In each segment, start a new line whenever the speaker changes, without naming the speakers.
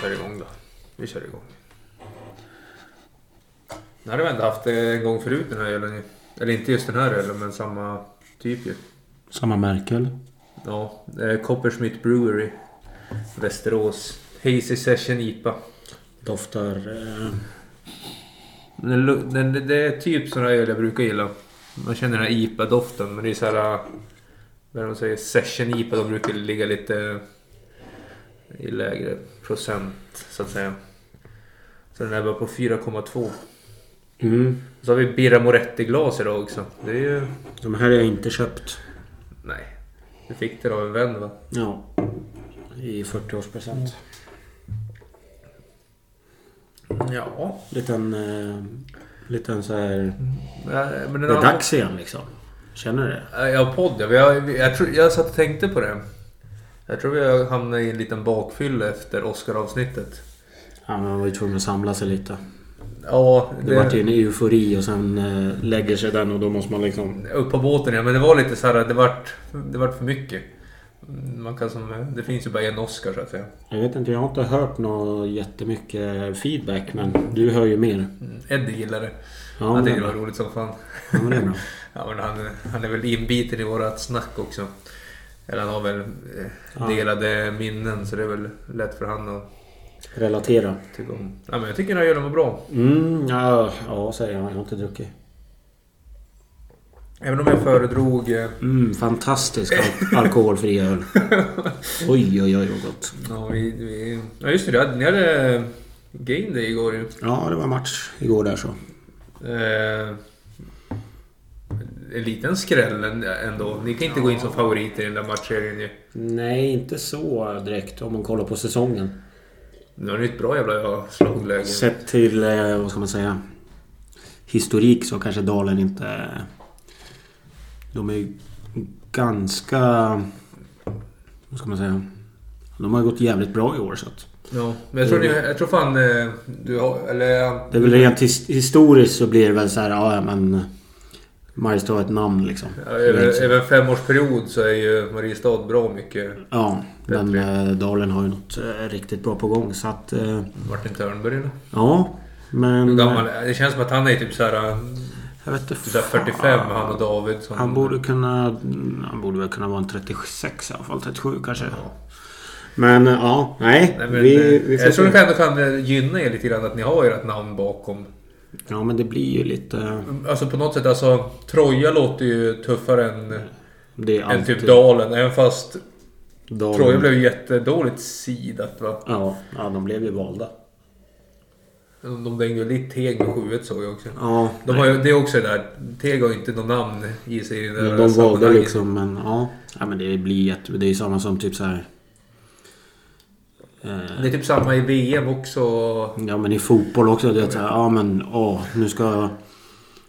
kör igång då. Vi kör igång. Nu har vi ändå haft det en gång förut den här ölen. Eller inte just den här ölen, men samma typ ju.
Samma märke eller?
Ja, det är Coppersmith Brewery. Västerås. Hazy Session IPA.
Doftar... Eh,
Den, lu- den, det- det är typ sån här öl jag brukar gilla. Man känner den här IPA-doften, men det är så här... äh, När de säger session IPA, de brukar ligga lite i lägre procent, så att säga. Så den är bara på 4,2.
mm.
Så har vi Birra Moretti-glas idag också. Det är ju...
De här har jag inte köpt.
Nej. Du fick det av en vän va?
Ja. I 40-årspresent.
Ja.
Liten... Eh, liten så här...
Men den
Det är
andra-
dags igen liksom. Känner du det?
Äh, Ja, podd ja. Jag, jag, jag, tror, jag satt och tänkte på det. Jag tror vi hamnade i en liten bakfylla efter Oscar-avsnittet.
Ja, men man var ju tvungen att samla sig lite.
Ja,
Det vart ju en eufori och sen eh, lägger sig den och då måste man liksom...
Upp på båten ja, men det var lite så här, det vart, det vart för mycket. Man kan som, det finns ju bara en Oscar så att säga.
Jag vet inte, jag har inte hört något jättemycket feedback men du hör ju mer.
Mm, Eddie gillade det.
Ja,
han
men,
tyckte det
ja,
var roligt som fan.
men det är bra.
Ja, men han, han är väl inbiten i vårat snack också. Eller han har väl eh,
Ja.
delade minnen så det är väl lätt för han att
Relatera.
tycka om. Ja, men jag tycker den här ölen var bra.
Mm, ja, ja, säger jag. Jag har inte druckit.
Även om jag föredrog... eh,
Mm, fantastisk al- alkoholfri öl. Oj, oj, oj vad gott.
Ja, vi, vi, ja just det, ni hade- ni hade eh, game day igår ju.
Ja, det var match igår där så.
Eh, en liten skräll än- ändå. Ni kan inte gå in som favoriter i den där matchserien ju.
Nej, inte så direkt om man kollar på säsongen.
Nu har ni ett bra jävla slagläge.
Sett till, eh, vad ska man säga, historik så kanske Dalen inte... De är ju ganska... Vad ska man säga? De har ju gått jävligt bra i år så att...
Ja, men jag tror, ni, jag tror fan eh, du har... Eller... eh,
Det är väl rent his- historiskt så blir det väl så här, ja ja, men... Mariestad har ett namn liksom.
ja, Över, över en femårsperiod så är ju Mariestad bra mycket.
Ja, men eh, Dalen har ju något eh, riktigt bra på gång så att... Eh,
Martin Törnberg eller?
ja,
Hur
men... eh,
gammal är- Det känns som att han är typ såhär...
Jag vet inte.
Typ såhär 45, han och David. Som,
Han borde kunna... mm, Han borde väl kunna vara en 36 i alla fall. 37 kanske. Men eh, ja, nej.
Nej, men,
vi,
eh,
vi får
jag tror
se.
det kan, ändå kan gynna er lite grann att ni har ert namn bakom.
Ja, men det blir ju lite... eh,
Alltså på något sätt, alltså Troja låter ju tuffare än,
Det är
än
alltid...
typ Dalen. Även fast
Dalen-
Troja blev ju jättedåligt sidat va.
Ja, ja, de blev ju valda.
De de dängde ju lite Teg med 7 såg jag också.
Ja,
De har ju, det är också det där, Teg har ju inte något namn i sig i det
Men
där
de valde
sammanhanget.
liksom men ja. ja men det blir jätte... Det är ju samma som typ så här. Eh,
Det är typ samma i VM också.
ja men i fotboll också. Det är så här, ja men åh, nu ska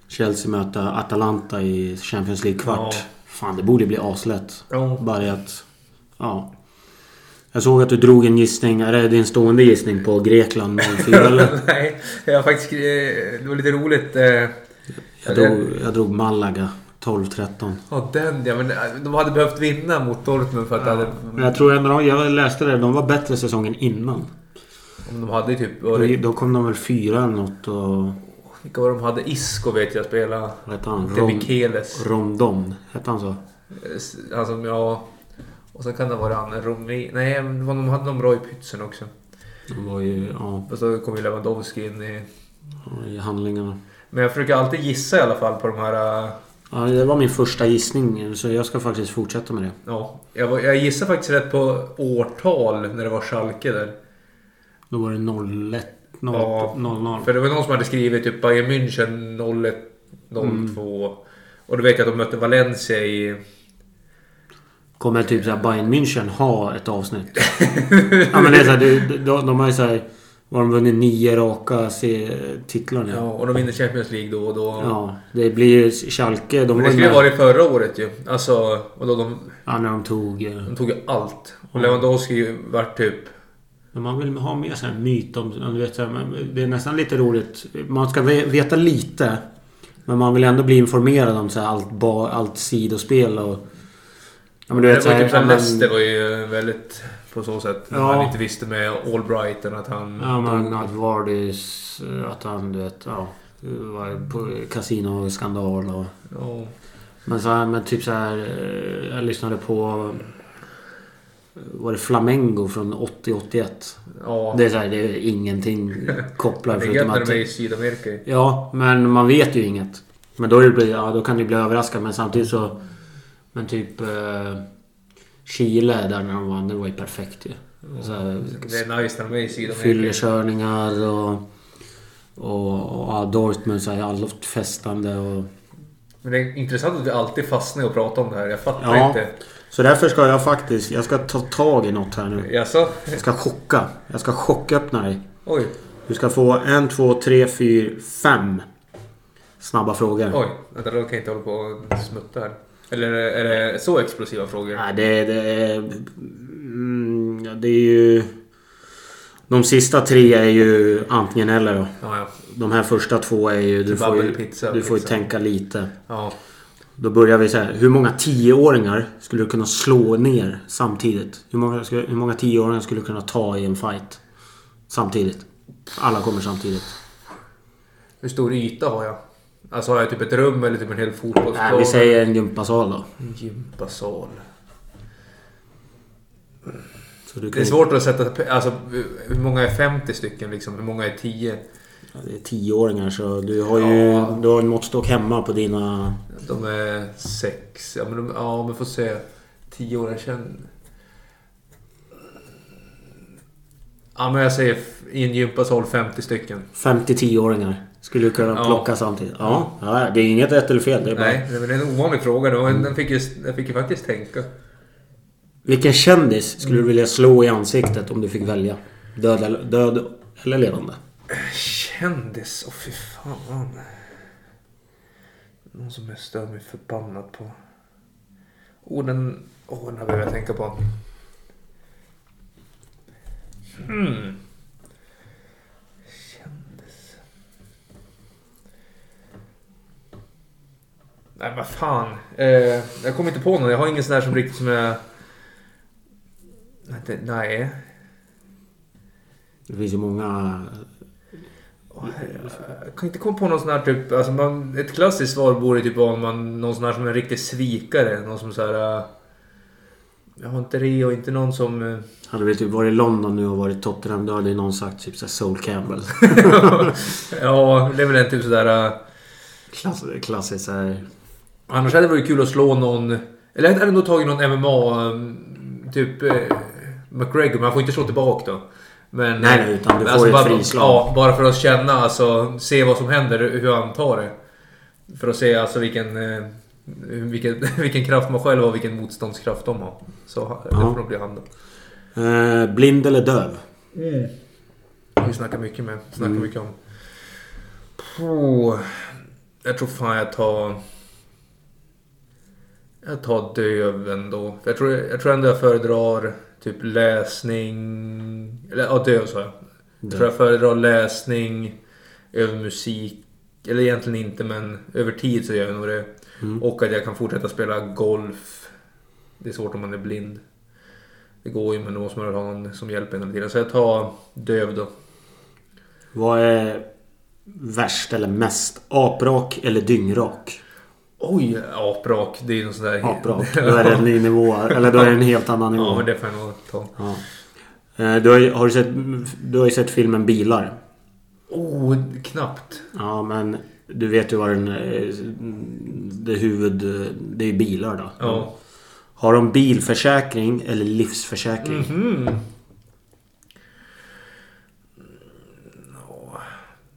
Chelsea möta Atalanta i Champions League-kvart.
Ja.
Fan det borde bli aslätt.
Ja.
Bara det att... Ja. Jag såg att du drog en gissning, eller det är en stående gissning på Grekland 04 eller?
Nej, jag har faktiskt... eh, Det var lite roligt. eh,
Jag drog, jag drog Malaga 12-13.
Ja, den ja. Men eh, de hade behövt vinna mot Dortmund för att det hade...
Men jag tror ändå de, jag läste det, de var bättre säsongen innan.
Om de hade typ...
Då, då kom de väl fyra eller något och...
Vilka var de hade? Isco vet jag spela.
Vad hette han?
Det är
Rom,
Mikeles.
Rondon. Hette han så?
Han som jag... Och sen kan det vara han Romi... Nej, men det var- de hade någon bra i pytsen också.
De var ju... Ja,
Och så kom ju Lewandowski in i...
i handlingarna.
Men jag försöker alltid gissa i alla fall på de här... äh,
Ja, det var min första gissning så jag ska faktiskt fortsätta med det.
Ja, jag, var- jag gissar faktiskt rätt på årtal när det var Schalke där.
Då var det 01, 0,
Ja,
00.
För det var någon som hade skrivit typ Bayern München 01, 02.
Mm.
Och då vet jag att de mötte Valencia i...
Kommer typ såhär Bayern München ha ett avsnitt? ja men det är såhär, de, de, de har ju såhär... Har de vunnit nio raka se- titlar nu?
Ja,
Ja.
och de vinner Champions League då och då.
det blir ju Schalke. De
Men
var
det
ju
skulle ju
med,
varit förra året ju. Alltså, och då de...
ja, när de tog... eh,
De tog ju allt. Och Lewandowski vart typ...
Men man vill ha med sig en myt om... om Du vet, så här, men det är nästan lite roligt. Man ska ve- veta lite. Men man vill ändå bli informerad om så här, allt, ba, allt sidospel och... Ja, men du vet,
det var ju
såhär,
typ såhär,
ja, men-
Leicester var ju väldigt på så sätt. när
Ja.
Han inte visste med Albrighton att han...
Ja men att Vardys... Att han du vet... Ja. det var på Kasinoskandal och...
Ja.
Men, så här, men typ så här... eh, Jag lyssnade på... Var det Flamengo från 80-81?
ja.
Det är så här, det är ingenting kopplar
Det är gött
förutom
när de är i
att...
Sydamerika.
Ja, men man vet ju inget. Men då, är det, bli- ja, då kan du bli överraskad men samtidigt så... Men typ... Eh, Chile där när de vann, det var ju perfekt ju. Så här,
Det är nice när de är i Sydamerika.
Fyllekörningar och... Och, och ja, Dortmund så här, alla festande och...
Men det är intressant att vi alltid fastnar och pratar om det här. Jag fattar
Ja.
inte.
Så därför ska jag faktiskt... Jag ska ta tag i något här nu.
Jaså?
Jag ska chocka. Jag ska chocköppna dig.
Oj.
Du ska få en, två, tre, fyra, fem snabba frågor.
Oj. Vänta, då kan jag inte hålla på och smutta här. Eller är det så explosiva frågor?
Nej, det, det, är, mm, ja, det är ju... De sista tre är ju antingen eller då.
Ja, ja.
De här första två är ju... Du
Kebab
får ju,
eller pizza, liksom.
du får ju
pizza.
tänka lite.
ja.
Då börjar vi så här. Hur många tioåringar skulle du kunna slå ner samtidigt? Hur många, skulle- hur många tioåringar skulle du kunna ta i en fight? Samtidigt. Alla kommer samtidigt.
Hur stor yta har jag? Alltså har jag typ ett rum eller typ en hel fotbollsplan?
Nej, vi säger en gympasal då.
En gympasal.
Så du kan,
Det är svårt att sätta... pe- Alltså hur många är 50 stycken liksom? Hur många är 10?
Ja, Det är tioåringar så du har ju
Ja.
du har en måttstock hemma på dina...
De är 6. Ja men, de, ja, men får se. 10 år sedan. Ja men jag säger f- i en gympasal 50 stycken.
50-10-åringar skulle du kunna
Ja.
plocka samtidigt. Ja. ja, det är inget rätt eller fel. Det är bara...
Nej, det är en ovanlig fråga. Det var en- Den fick ju, jag fick ju faktiskt tänka.
Vilken kändis skulle du vilja slå i ansiktet om du fick välja? Död eller, död eller levande?
Kändis? Åh fy fan. Någon som jag stör mig förbannat på. Åh den... Åh den här behöver jag tänka på. Hmm. Kändis. Nej vad fan. Eh, jag kommer inte på någon. Jag har ingen sån här som riktigt som jag... Nej, det- Nej.
Det finns ju många...
Jag kan inte komma på någon sån här typ... Alltså man, ett klassiskt svar borde typ vara om man, någon sån här som är en riktig svikare. Någon som så här... äh, Jag har inte det och inte någon som... äh,
Hade vi typ varit i London nu och varit Tottenham då hade ju någon sagt typ såhär Sol Campbell.
ja, det är väl en typ sådär... äh,
Klass, klassiskt såhär...
Annars hade det varit kul att slå någon... Eller jag hade ändå tagit någon MMA... ähm, Typ... äh, McGregor, men han får inte slå tillbaka då. Men,
Nej, nej, utan du
men alltså
får ett
bara,
frislag.
Ja, bara för att känna, alltså se vad som händer, hur han tar det. För att se alltså vilken, eh, vilken, vilken kraft man själv har och vilken motståndskraft de har. Så ha- det
Ja.
får nog bli han då.
Eh, blind eller döv?
Vi snackar mycket med, snackar mycket om. Puh, jag tror fan jag tar... Jag tar döv ändå. För Jag tror, jag tror ändå jag föredrar typ läsning... Eller ja, döv sa jag. Jag tror jag föredrar läsning över musik. Eller egentligen inte, men över tid så gör jag nog det. Och att jag kan fortsätta spela golf. Det är svårt om man är blind. Det går ju, men då måste man ha någon som hjälper en hela tiden. Så jag tar döv då.
Vad är värst eller mest? Aprak eller dyngrak?
Oj, aprak. Det är ju någon sån där...
Aprak. Då är det en ny nivå. Eller då är det en helt annan nivå.
Ja, men det får jag nog ta.
Ja. Eh, Du har, ju- har du, sett, du har ju sett filmen Bilar.
Oh, knappt.
Ja, men du vet ju vad den... eh, Det huvud... Det är ju bilar då.
Ja.
Har de bilförsäkring eller livsförsäkring?
Mhm. Ja,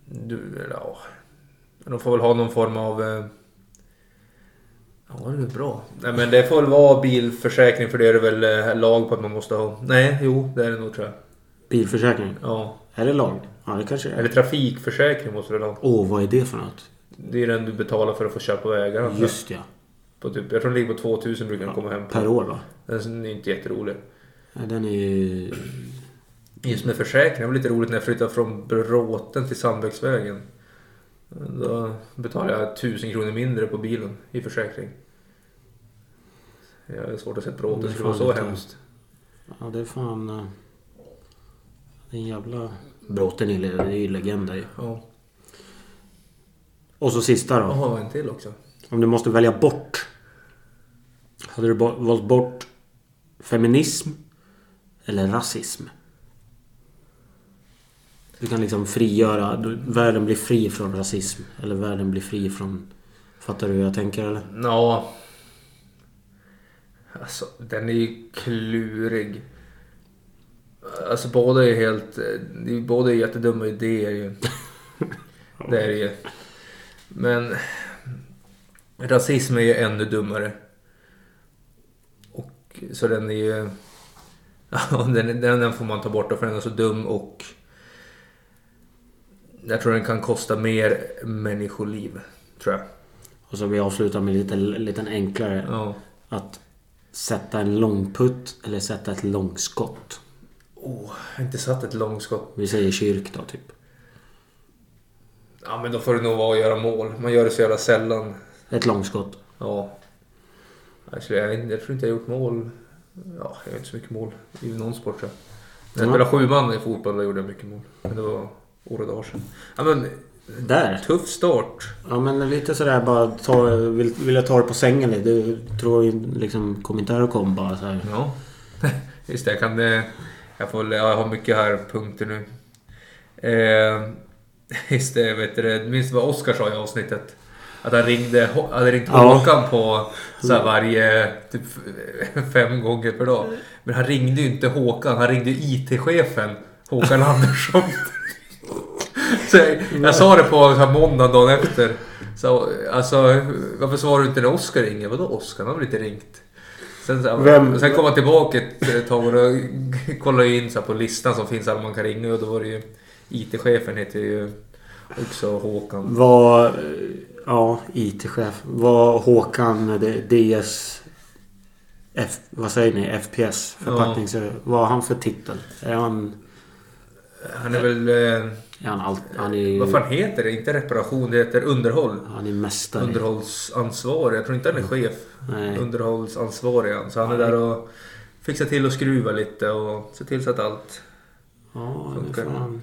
Du, ja. Men De får väl ha någon form av... eh, Ja, det är väl bra. Nej, men det får väl vara bilförsäkring för det är det väl eh, lag på att man måste ha. Nej, jo, det är det nog tror jag.
Bilförsäkring?
Ja.
Är det lag? Ja, det kanske det
Eller
är.
trafikförsäkring måste du väl ha.
Åh, vad är det för något?
Det är den du betalar för att få köra på vägarna.
Just ja.
På typ, jag tror den ligger på 2000 brukar den komma hem på.
Per år va?
Den är inte jätterolig.
Nej, Den är ju...
Just med försäkring, det var lite roligt när jag flyttade från Bråten till Sandbäcksvägen. Då betalade jag 1000 kronor mindre på bilen i försäkring. Jag har svårt att se
Det
bråte
är
det skulle vara
fan
så
lite-
hemskt.
Ja, det är fan... eh, Det är en jävla... Bråten är ju- det är ju legender ju.
Ja.
Och så sista då.
Jaha, en till också.
Om du måste välja bort. Hade du bo- valt bort feminism eller rasism? Du kan liksom frigöra... Du, världen blir fri från rasism. Eller världen blir fri från... Fattar du hur jag tänker eller?
Ja. Alltså, den är ju klurig. Alltså båda är ju helt... eh, det är- Båda är jättedumma idéer ju. Det är det ju. Men... Rasism är ju ännu dummare. Och så den är ju... Ja, den, den, den får man ta bort då, för den är så dum och... Jag tror den kan kosta mer människoliv. Tror jag.
Och så vi avslutar med lite, lite enklare.
Ja.
Att sätta en långputt eller sätta ett långskott.
Oh, jag har inte satt ett långskott.
Vi säger kyrk då typ.
Ja, men då får det nog vara att göra mål. Man gör det så jävla sällan.
Ett långskott.
Ja. Alltså, jag, vet inte- jag tror inte jag har gjort mål. Ja, jag har inte så mycket mål i någon sport tror jag. När jag
Ja.
spelade sjuman i fotboll då gjorde jag mycket mål. Men det var år och dagar sedan. Ja, men
Där!
tuff start.
Ja men lite sådär bara ta, vill, vill jag ta dig på sängen lite. Du tror ju liksom kom inte här och kom bara så här.
Ja. Just det, jag kan... eh, Jag, får, ja, jag har mycket här punkter nu. Eh, just det, vet du det, minns du vad Oskar sa i avsnittet? Att han ringde, hade ringt
Ja. Mm.
Håkan på så här varje... Typ f- fem gånger per dag. Men han ringde ju inte Håkan, han ringde IT-chefen Håkan Andersson. Så jag, jag sa det på så här måndag dagen efter. Så, alltså, varför svarar du inte när Oskar ringer? Vadå Oskar? Han har väl inte ringt? Sen, så här,
Vem-
sen kom han tillbaka ett tag och kollade in så här, på listan som finns alla man kan ringa och då var det ju IT-chefen heter ju också Håkan.
Var... Ja, IT-chef. Var Håkan det- DS... F, vad säger ni? FPS? Förpacknings... Vad har han för titel? Är han...
Han är väl... Eh,
Är han allt... Han är ju...
vad fan heter det? Inte reparation, det heter underhåll.
Han är mästare.
Underhållsansvarig. Jag tror inte han är chef.
Nej.
Underhållsansvarig är han. Så han är där och fixar till och skruvar lite och ser till så att allt...
Ja, det
Funkar.
är fan...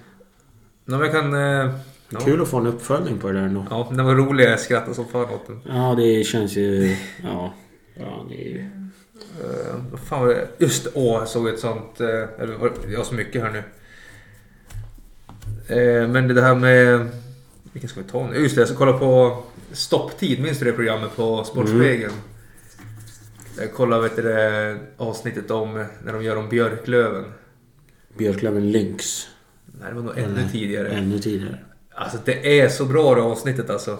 Ja, men jag kan... eh, Ja.
Kul att få en uppföljning på det där ändå.
Ja, den var rolig. Jag skrattade som fan åt den.
Ja, det känns ju... Ja. Ja, det är ju...
Eh, vad fan var det? Just det, åh, jag såg ett sånt... eh, eller var det- jag har så mycket här nu. Eh, men det här med... Vilken ska vi ta nu? Just det, jag ska kolla på Stopptid. Minns du det programmet på Sportspegeln? Jag kollade vet du, det, avsnittet om när de gör om Björklöven.
Björklöven Lynx.
Nej, det var nog ännu
Eller-
tidigare.
Ännu tidigare.
Alltså det är så bra det avsnittet alltså.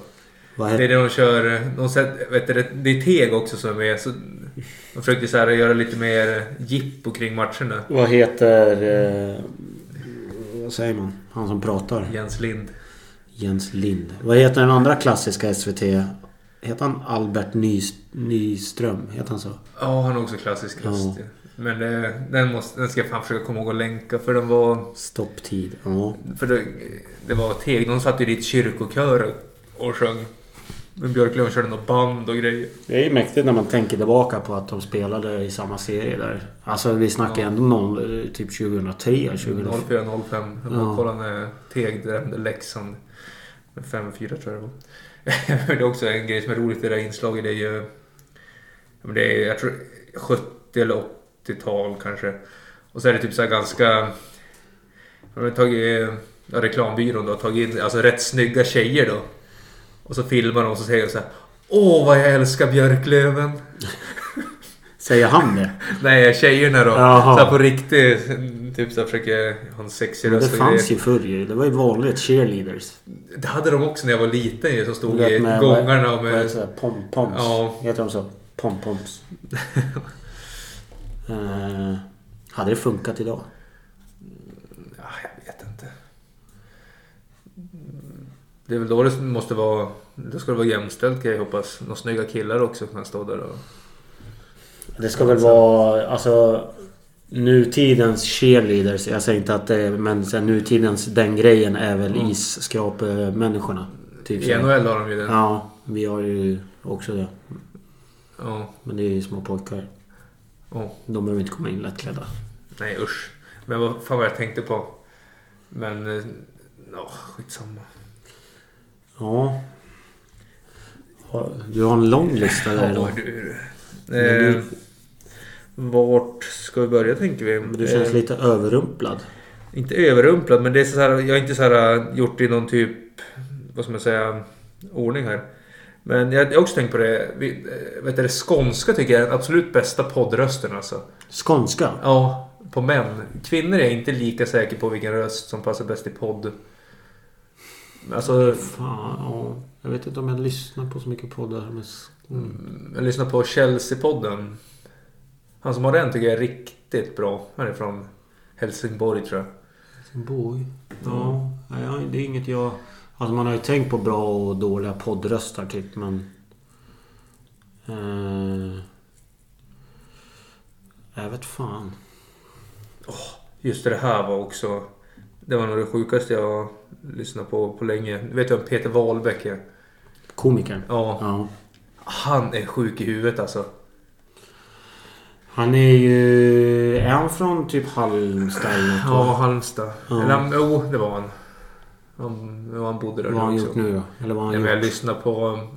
Vad
Det är
hette...
det de kör. De sätter, vet du, det är Teg också som är med. Så de försökte så här, göra lite mer jippo kring matcherna.
Vad heter... Eh, vad säger man? Han som pratar.
Jens Lind.
Jens Lind. Vad heter den andra klassiska SVT? Heter han Albert Nys- Nyström? Heter han så?
Ja, han har också klassisk röst. ja. Men eh, den, måste, den ska jag fan försöka komma ihåg att länka för den var...
Stopptid. Ja.
För det, det var Teg. De satt ju dit kyrkokör och sjöng. Men Björklöven körde något band och grejer.
Det är ju mäktigt när man tänker tillbaka på att de spelade i samma serie där. Alltså vi snackar ju ändå någon, eh, typ 2003, 2004.
04-05. Jag
Ja.
ja. kollade när Teg drämde Leksand. Med 5-4 tror jag det var. Men det är också en grej som är roligt i det där inslaget. Det är ju... ja, men Det är, jag tror 70 eller 80-tal kanske. Och så är det typ så här ganska... De har tagit... Ja, reklambyrån då. Tagit in alltså, rätt snygga tjejer då. Och så filmar de och så säger de så här. Åh vad jag älskar Björklöven.
Säger han det?
Nej, tjejerna då.
Jaha.
Så här på riktigt. Typ så här försöker ha en sexig
Men alltså det
röst. och grejer.
fanns ju förr ju. Det var ju vanligt cheerleaders.
Det hade de också när jag var liten ju, som
Du
stod i
vet, med-
gångarna och
Vad heter
med...
det? så här, Pompoms.
Ja.
Heter de så? Pompoms. uh, hade det funkat idag?
Ja, Ah, jag vet inte. Mm, Det är väl då det måste vara... Då ska det vara jämställt kan jag hoppas. Några snygga killar också kan stå där och...
Det ska väl vara alltså nutidens cheerleaders. Jag säger inte att det är, men så här, nutidens den grejen är väl mm. isskrapemänniskorna. Typ så.
I NHL har de ju den.
Ja, vi har ju också det.
Ja.
Men det är ju små pojkar.
Ja.
De behöver inte komma in lättklädda.
Nej usch. Men vad fan vad jag tänkte på. Men... eh, Ja, skitsamma.
Ja. Ja, Du har en lång lista där
Ja,
idag.
du.
Men
Eh, vart ska vi börja tänker vi?
Men du känns
Eh,
lite överrumplad.
Inte överrumplad men det är så här, jag har inte så här gjort det i någon typ, vad ska man säga, ordning här. Men jag jag har också tänkt på det, vi, eh, vet du, det skånska tycker jag är den absolut bästa poddrösten alltså.
Skånska?
Ja, på män. Kvinnor är jag inte lika säker på vilken röst som passar bäst i podd. Alltså,
Fan, ja. Jag vet inte om jag lyssnar på så mycket poddar. Men... s- Mm.
jag lyssnar på Chelsea-podden. Han som har den tycker jag är riktigt bra. Han är från Helsingborg tror jag. Mm.
Boy. Ja. Nej, jag- det är inget jag... Alltså man har ju tänkt på bra och dåliga poddröstar typ men... Eh, jag vet fan.
Just det här var också... Det var nog det sjukaste jag har lyssnat på på länge. Du vet ju vem Peter Wahlbeck är?
Komikern.
Ja.
Ja.
Han är sjuk i huvudet alltså.
Han är ju... Är han från typ Halmstad eller något?
Ja, Halmstad.
Ja.
Eller han... Jo, det var han. Han, ja, han bodde där
Vad har han
nu
gjort
också.
nu då? Eller vad har
Nej,
han
men jag
gjort?
lyssnade på um,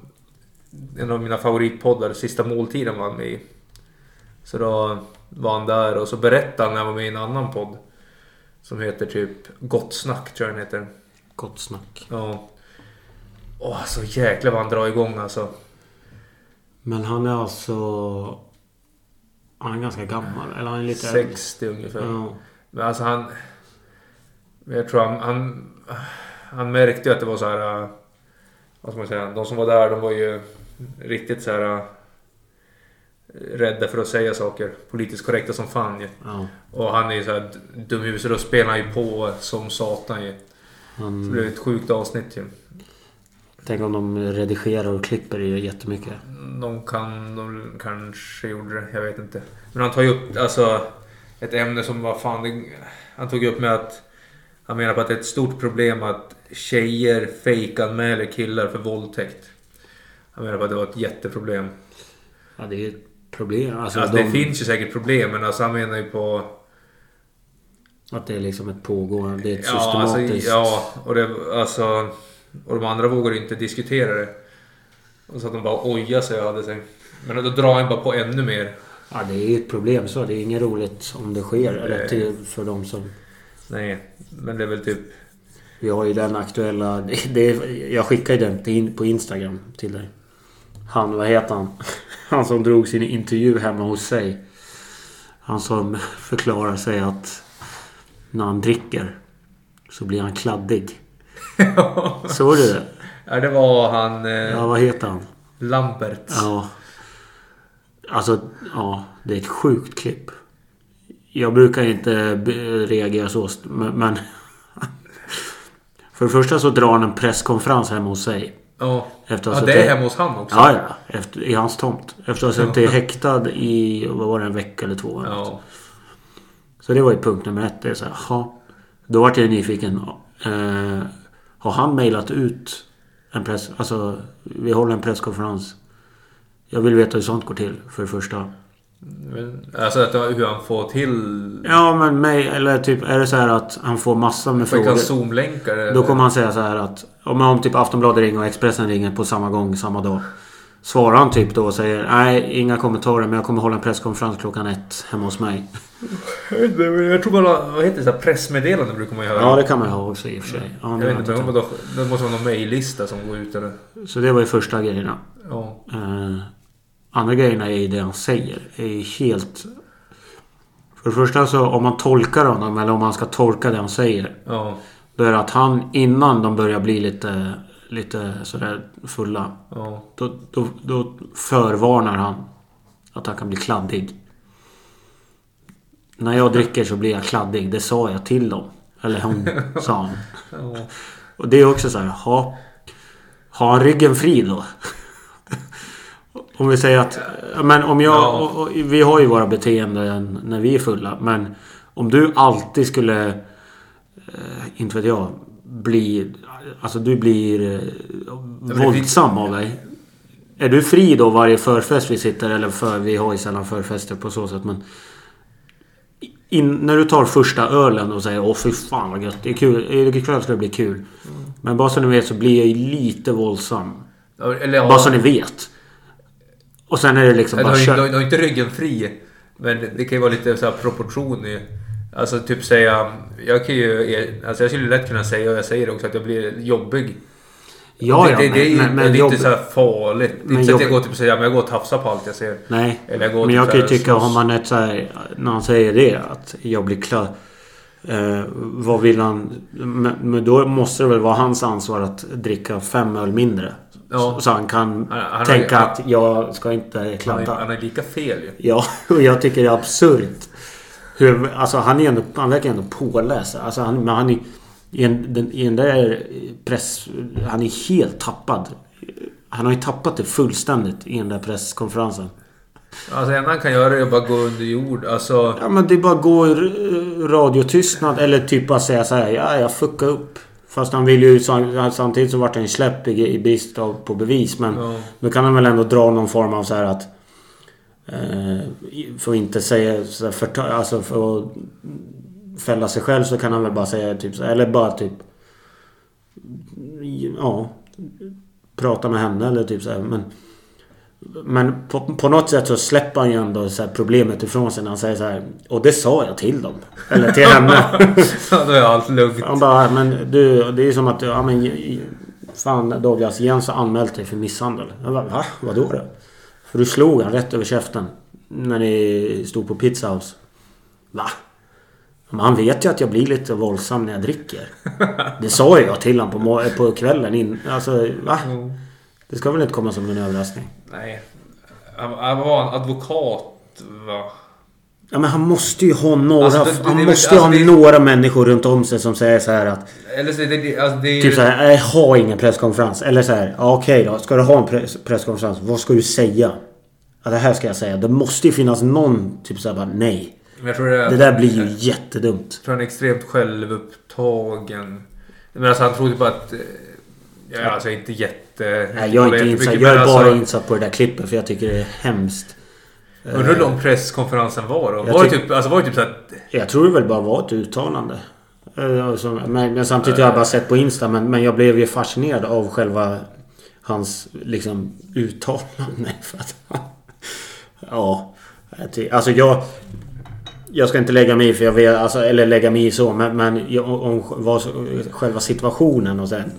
en av mina favoritpoddar, Sista måltiden var han med i. Så då var han där och så berättade han när han var med i en annan podd. Som heter typ Gott snack tror jag den heter.
Gott snack.
Ja. Åh, så jäkla vad han drar igång alltså.
Men han är alltså... Han är ganska gammal. Eller han är lite... äldre.
60 ungefär.
Ja.
Men alltså han... men Jag tror han... Han, han märkte ju att det var så här... äh, Vad ska man säga? De som var där de var ju riktigt så här... äh, Rädda för att säga saker. Politiskt korrekta som fan ju.
ja.
Och han är ju så här d- dum i huvudet så då spelar han ju på som satan ju. Så det
Han,
blev ett sjukt avsnitt ju.
tänk om de redigerar och klipper ju jättemycket.
De kan, de kanske gjorde det, jag vet inte. Men han tar ju upp alltså, ett ämne som var fan... det- Han tog upp med att... Han menar på att det är ett stort problem att tjejer fejkanmäler killar för våldtäkt. Han menar på att det var ett jätteproblem.
Ja, det är ju ett problem. Alltså,
Alltså,
de,
Det finns ju säkert problem men alltså, han menar ju på...
Att det är liksom ett pågående... Det är ett
Ja, alltså,
systematiskt...
ja och, det, alltså, och de andra vågar ju inte diskutera det. Och så att de bara ojar sig och hade sig. Men då drar han bara på ännu mer.
Ja, det är ju ett problem så. Det är inget roligt om det sker. Eller
Nej.
till, för de som...
Nej, men det är väl typ...
Vi har ju den aktuella... Det, det, jag skickade ju den till, på Instagram till dig. Han, vad heter han? Han som drog sin intervju hemma hos sig. Han som förklarar sig att när han dricker så blir han kladdig. Såg du det?
Ja, det var han... Eh,
Ja, vad heter han?
Lambert.
Ja. Alltså, ja. Det är ett sjukt klipp. Jag brukar inte be- reagera så, st- men... men för det första så drar han en presskonferens hemma hos sig.
Ja.
Efter att
ja,
ha
det
suttit-
är hemma hos han också.
Ja, ja. Efter, I hans tomt. Efter att ha suttit häktad i, vad var det, en vecka eller två.
Ja.
Så det var ju punkt nummer ett. Det är så här, jaha. Då vart jag nyfiken. Eh, har han mejlat ut en press... Alltså, vi håller en presskonferens. Jag vill veta hur sånt går till, för det första.
Men, alltså att det var hur han får till...
Ja, men mig... Eller typ, är det så här att han får massor med
Fick han
frågor.
zoomlänkar? eller?
Då kommer han säga så här att om, om typ Aftonbladet ringer och Expressen ringer på samma gång samma dag. Svarar han typ då och säger nej, inga kommentarer men jag kommer hålla en presskonferens klockan ett hemma hos mig.
Jag vet inte, men Jag tror bara... Vad heter det? Så här pressmeddelande brukar man ju höra.
Ja, det kan man ju ha också i och för sig. Ja,
jag
det
vet
har
inte,
jag
men vadå? Det måste vara någon mejllista som går ut eller?
inte. Så det var ju första grejerna.
Ja.
Eh, andra grejerna är ju det han säger. är ju helt... För det första så om man tolkar honom eller om man ska tolka det han säger.
Ja.
Då är det att han innan de börjar bli lite, lite sådär fulla.
Ja.
Då, då, då förvarnar han att han kan bli kladdig. När jag dricker så blir jag kladdig. Det sa jag till dem. Eller hon, sa han.
ja.
Och det är också så här, ha, har han ryggen fri då? Om vi säger att... ja, Men om jag...
Ja.
Och, och, vi har ju våra beteenden när vi är fulla. Men om du alltid skulle... Eh, inte vet jag. Bli... Bli, alltså du blir eh,
det finns-
våldsam av dig. Är du fri då varje förfest vi sitter? Eller för, vi har ju sällan förfester på så sätt men... In, när du tar första ölen och säger åh fy fan vad gött. Det är kul. Ikväll ska det bli kul.
Mm.
Men bara så ni vet så blir jag ju lite våldsam.
Ja, Eller ja,
Bara så ni vet. Och sen är det liksom
du
bara
har, ju- du har,
kör.
du har inte ryggen fri. Men det kan ju vara lite så här proportion i... Alltså typ säga... Jag kan ju... er- Alltså jag skulle lätt kunna säga, och jag säger det också, att jag blir jobbig.
Ja,
det,
ja,
det, det är ju
men, men,
det är
men
inte
jobb,
så här farligt. Det är
Men
inte så att jag
jobb-
går typ och säger "Ja, men jag går och tafsar på allt jag ser.
Nej.
Eller gå
men
till
jag kan ju
så här
tycka
slåss.
om man är så här, När han säger det att jag blir klar. Eh, vad vill han? Men, men då måste det väl vara hans ansvar att dricka fem öl mindre.
Ja.
Så, så han kan
Han- han har-
tänka att jag ska inte
Han är,
kladda.
han är lika fel ju.
Ja, och jag tycker det är absurt. Hur, alltså han, är ändå, han verkar ändå påläst. Alltså han, men han är, i, en, den, I den där press... Han är helt tappad. Han har ju tappat det fullständigt i den där presskonferensen.
Alltså det enda han kan göra är att bara gå under jord. Alltså...
Ja men det är bara gå i r- radiotystnad eller typ bara säga så här. Ja, jag fuckar upp. Fast han vill ju... sam- Samtidigt så vart han ju släppt i, i brist av, på bevis. Men
Ja.
nu kan han väl ändå dra någon form av så här att... Eh, i- för att inte säga... Så här, förta, alltså för att fälla sig själv så kan han väl bara säga typ så här, Eller bara typ... Ja. Prata med henne eller typ så här, men... Men på, på något sätt så släpper han ju ändå så här problemet ifrån sig när han säger så här. Och det sa jag till dem. Eller till henne.
Ja, Då är allt lugnt.
Han bara, men du, det är ju som att du, ja men... Fan Douglas, Jens har anmält dig för misshandel. Jag bara, va? Vadå då? För du slog han rätt över käften. När ni stod på Pizza House. Va? Men han vet ju att jag blir lite våldsam när jag dricker. Det sa ju jag till honom på, mor- på kvällen. In, alltså, va? Det ska väl inte komma som en överraskning?
Nej. Han han var en advokat va?
Ja men han måste ju ha några...
Alltså, det- det-
han
det-
måste ju
alltså,
ha
det-
några människor runt om sig som säger så här att...
Eller så är det- det... Alltså det är ju...
Typ så här, "Nej, ha ingen presskonferens. Eller så här, ja, okej då. Ska du ha en press, presskonferens, vad ska du säga? Ja, det här ska jag säga. Det måste ju finnas någon typ så här, bara, nej.
Men jag tror det,
Det där blir ju jättedumt.
Jag tror han är extremt självupptagen. Men alltså han trodde bara att... eh, Ja, alltså inte jätte...
Nej, jag är inte
jättemycket,
insatt.
men
Jag är bara
alltså-
insatt på det där klippet för jag tycker det är hemskt.
Undrar hur lång presskonferensen var då?
eh. Jag
Var det
tyck-
typ, alltså var det typ såhär...
Jag tror det väl bara var ett uttalande. Eh, alltså, Men, men samtidigt har jag bara sett på Insta. Men, men jag blev ju fascinerad av själva hans liksom uttalande. För att, ja. jag ty- Alltså jag... Jag ska inte lägga mig i för jag vet, alltså, eller lägga mig i så men, men jag- om vad, själva situationen och sen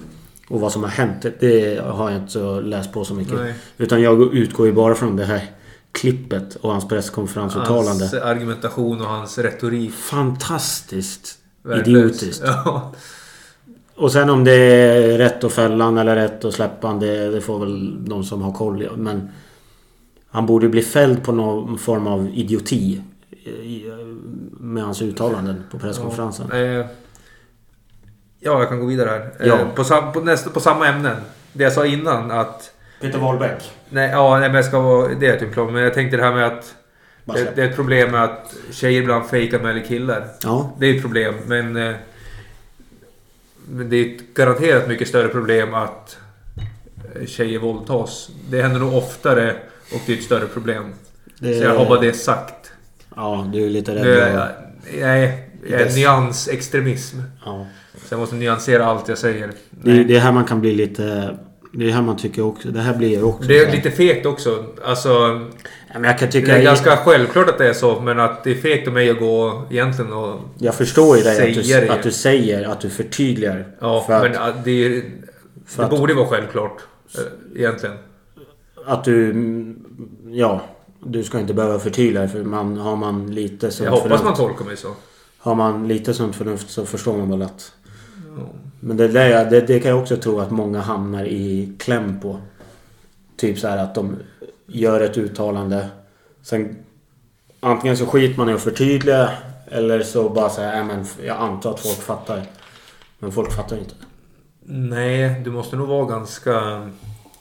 Och vad som har hänt det- det har jag inte så läst på så mycket.
Nej.
Utan jag utgår ju bara från det här klippet och hans presskonferensuttalande.
Hans argumentation och hans retorik.
Fantastiskt
Värdelös.
idiotiskt.
Ja.
Och sen om det är rätt att fälla han eller rätt att släppa han, det, det får väl de som har koll. Men han borde bli fälld på någon form av idioti. i- Med hans uttalanden på presskonferensen.
Ja, eh, ja, jag kan gå vidare här.
Ja.
Eh, på, sam, på, nästa, på samma ämnen. Det jag sa innan att...
Peter Wahlbeck.
Nej, ja, nej, men jag ska vara... Det är jag typ klar med. Men jag tänkte det här med att...
Bara
Det,
släpp.
det är ett problem med att tjejer ibland fejkar med eller killar.
Ja.
Det är ett problem, men... eh, Men det är ett garanterat mycket större problem att eh, tjejer våldtas. Det händer nog oftare och det är ett större problem.
Det-
Så jag har bara det sagt.
Ja, du är lite rädd.
Nu är
och-
jag, jag är, jag är
Yes.
eh, nyansextremism.
Ja.
Så jag måste nyansera allt jag säger.
Det, är- det är här man kan bli lite... Det är här man tycker också... Det här blir också...
Det är lite fegt också. Alltså,
Ja, Men jag kan
det
tycka...
är ganska självklart att det är så, men att det är fegt av mig att gå egentligen och...
Jag förstår ju dig att
Säger
du,
det.
att du säger, att du förtydligar.
Ja,
för att,
men att det, är,
för
det
att-
borde vara självklart. eh, Egentligen.
Att du... mm, Ja. Du ska inte behöva förtydliga dig, för man, har man lite sunt
Jag hoppas
förnuft.
man tolkar mig så.
Har man lite sunt förnuft så förstår man väl att... Men det, där, jag- det, det kan jag också tro att många hamnar i kläm på. Typ så här att de gör ett uttalande. Sen antingen så skiter man i att förtydliga eller så bara säger men jag antar att folk fattar. Men folk fattar ju inte.
Nej, du måste nog vara ganska...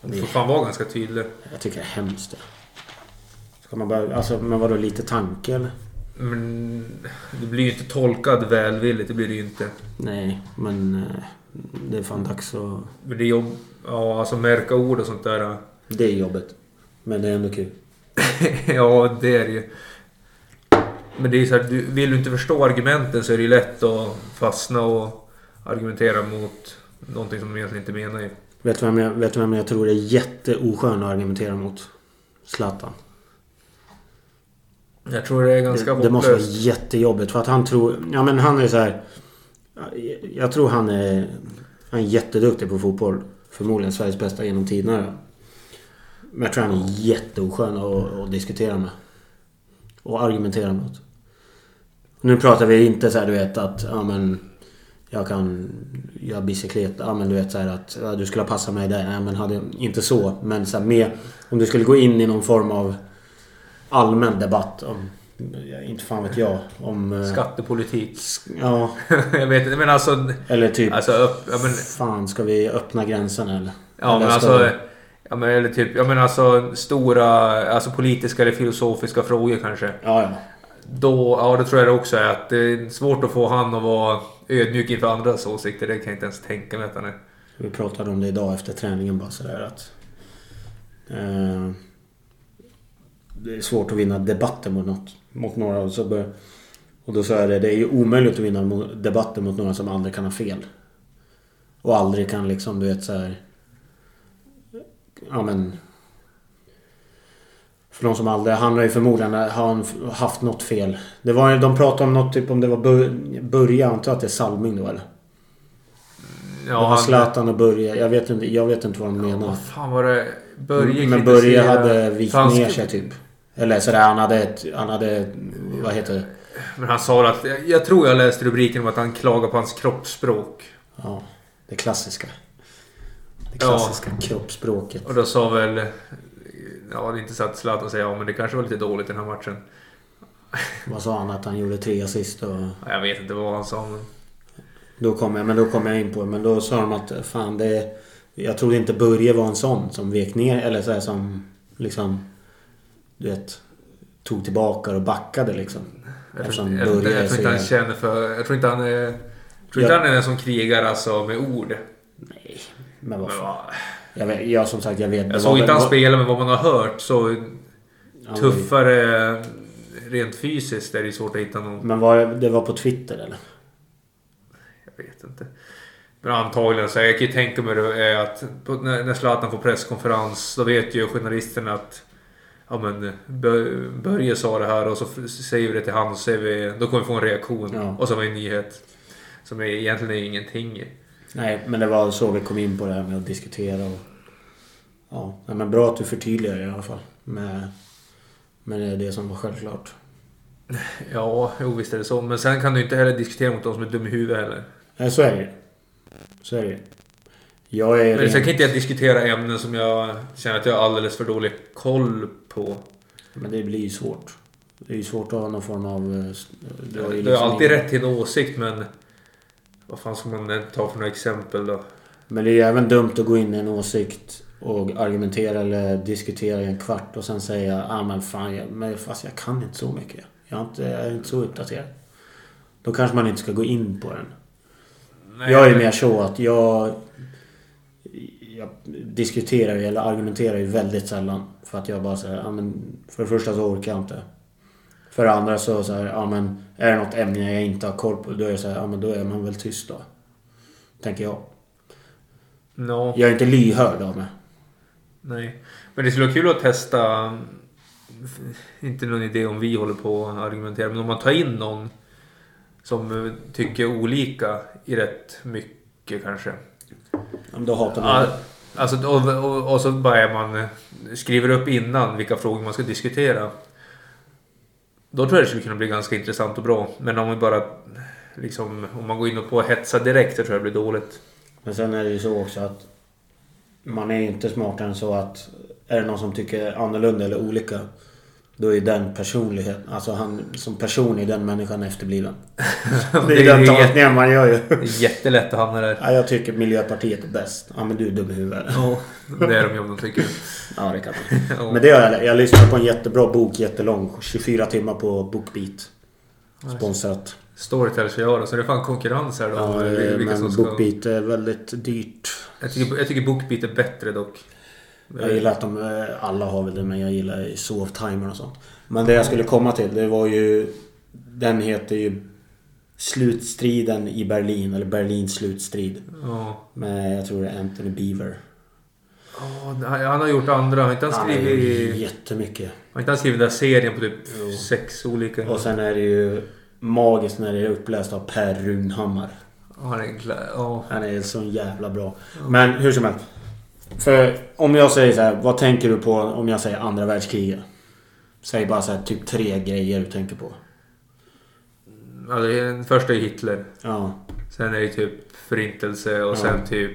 Du får fan vara ganska tydlig.
Jag tycker det är hemskt. det. Ska man bara, alltså, men vadå lite tanke eller?
Men du blir ju inte tolkad välvilligt, det blir du ju inte.
Nej, men eh, det är fan dags att...
Men det är jobb... Ja, alltså märka ord och sånt där.
Det är jobbigt. Men det är ändå kul.
ja, det är det ju. Men det är ju så här, du, vill du inte förstå argumenten så är det ju lätt att fastna och argumentera mot någonting som de egentligen inte menar ju.
Vet du vem jag, vet du vem jag tror är jätteoskön att argumentera mot? Zlatan.
Jag tror det är ganska
det, det måste vara
hopplöst.
jättejobbigt för att han tror... Ja men han är så här. jag- Jag tror han är... Han är jätteduktig på fotboll. Förmodligen Sveriges bästa genom tiderna. då. Men jag tror han är jätteoskön att, att diskutera med. Och argumentera mot. Nu pratar vi inte så här du vet att... Ja men... Jag kan göra bicyklet. Ja men du vet så här att ja, du skulle ha passat mig där. Nej men hade... Inte så. Men så här med... Om du skulle gå in i någon form av allmän debatt om, ja, inte fan vet jag, om... eh,
Skattepolitik.
sk- Ja,
jag vet inte, men alltså...
eller typ...
Alltså, upp, ja, men,
Fan, ska vi öppna gränsen eller?
ja, men
Eller ska
alltså...
vi-
Ja, men, eller typ, ja, men alltså stora alltså, politiska eller filosofiska frågor kanske.
Ja, ja.
Då, ja, det tror jag det också är. Att det är svårt att få han att vara ödmjuk inför andras åsikter. Det kan jag inte ens tänka mig att han är.
Vi pratade om det idag efter träningen bara sådär att... Eh, det är svårt att vinna debatter mot något. Mot några och så bör, Och då sa jag det, det är ju omöjligt att vinna mo- debatter mot några som aldrig kan ha fel. Och aldrig kan liksom, du vet såhär... Ja men... För de som aldrig... Han har ju förmodligen har han f- haft något fel. Det var, ju- de pratade om något, typ om det var Bur- Börje, antar att det är Salming då eller?
Ja,
det var Zlatan och Börje. Jag vet inte, jag vet inte vad de menar.
Vad fan var det? Börje
Mm, Men Börje
kritiserade-
hade vikt
Fan,
ner
sk-
sig typ. Eller sådär, han hade ett... Han hade... Vad heter det?
Men han sa att... jag- Jag tror jag läste rubriken om att han klagade på hans kroppsspråk.
Ja, det klassiska. Det
Ja.
klassiska kroppsspråket.
Och då sa väl... Ja, det är inte så att Zlatan säger ja, men det kanske var lite dåligt den här matchen.
Vad sa han? Att han gjorde tre assist och...
Ja, Jag vet inte vad han sa, men...
Då kom jag, men då kom jag in på det. Men då sa de att fan det... Jag trodde inte Börje var en sån som vek ner eller sådär som liksom... Du vet... Tog tillbaka och backade liksom.
Jag tror,
Eftersom
inte, jag, tror inte,
Börje är
jag tror inte han
så
känner för... Jag tror inte han är... Jag tror inte
Ja.
han är den som krigar alltså med ord.
Nej, men vad
Men,
fan.
va,
Jag, vet, jag som sagt, jag vet. det
jag såg
var
inte
väl-
han spela, men vad man har hört så...
Ja,
Tuffare rent fysiskt är det ju svårt att hitta någon.
Men var det, det var på Twitter eller?
Jag vet inte. Men antagligen så. Jag kan ju tänka mig det är att på, när, när Zlatan får presskonferens då vet ju journalisterna att ja, men, Bö- Börje sa det här och så f- säger vi det till han och så är vi, då kommer vi få en reaktion.
Ja.
Och så har vi en nyhet. Som är, egentligen är ingenting.
Nej, men det var så vi kom in på det här med att diskutera och... Ja, nej, men bra att du förtydligar i alla fall. Med, med det, det som var självklart.
Ja, jo visst är det så. Men sen kan du inte heller diskutera mot de som är dum i huvudet heller.
Nej, så är det ju. Så är det ju. Jag är...
Men sen
Rent,
kan inte jag diskutera ämnen som jag känner att jag har alldeles för dålig koll på.
men det blir ju svårt. Det är ju svårt att ha någon form av... eh, s- Du
Du
har
har,
ju liksom
alltid
ingen-
rätt till en åsikt men... Vad fan ska man ta för några exempel då?
Men det är ju även dumt att gå in i en åsikt och argumentera eller diskutera i en kvart och sen säga ah, men fan, jag, men fast jag kan inte så mycket. Jag är inte, jag är inte så uppdaterad. Då kanske man inte ska gå in på den.
Nej,
jag är mer så att jag, jag diskuterar ju eller argumenterar ju väldigt sällan. För att jag bara säger, ja men för det första så orkar jag inte. För det andra så, så här, ja men är det något ämne jag inte har koll på då är det så här, ja men då är man väl tyst då. Tänker jag.
No,
Jag är inte lyhörd av mig.
nej. Men det skulle vara kul att testa... f- Inte någon idé om vi håller på att argumentera, men om man tar in någon som eh, tycker olika i rätt mycket kanske.
Ja, men Då hatar man
Al- Alltså, och, och, och så börjar man eh, skriver upp innan vilka frågor man ska diskutera. Då tror jag det skulle kunna bli ganska intressant och bra. Men om vi bara liksom, om man går in och på och hetsar direkt så tror jag det blir dåligt.
Men sen är det ju så också att man är ju inte smartare än så att är det någon som tycker annorlunda eller olika då är ju den personlighet, alltså han som person är den människan efterbliven. Det är ju den
jä-
tolkningen man gör ju.
jättelätt att hamna där.
Ja, jag tycker Miljöpartiet är bäst. Ja men du är dum i huvudet.
Ja, det är de ju om de tycker.
Ja det kan man.
Ja.
Men det gör jag. Jag lyssnar på en jättebra bok, jättelång. 24 timmar på BookBeat. Sponsrat.
Storytel kör jag då, så det är fan konkurrens här då.
Ja,
Vilka
men
som ska-
BookBeat är väldigt dyrt.
jag, tycker, jag tycker BookBeat är bättre dock.
Jag gillar att de, eh, alla har väl det, men jag gillar ju sovtimern och sånt. Men det jag skulle komma till, det var ju... Den heter ju Slutstriden i Berlin, eller Berlins slutstrid.
Ja.
Med, jag tror det är Anthony Beaver.
Ja, han han har gjort andra. Har inte han
har gjort
skrivit,
jättemycket.
har inte han skrivit den här serien på typ
Jo.
sex olika...
Och sen är det ju magiskt när det är uppläst av Per Runhammar.
Han är glad. Ja.
Han är så jävla bra. Men hur som helst. För om jag säger så här, vad tänker du på om jag säger andra världskriget? Säg bara så här, typ tre grejer du tänker på.
Ja, det är- Alltså, den första är Hitler.
Ja.
Sen är det typ förintelse och
Ja.
sen typ...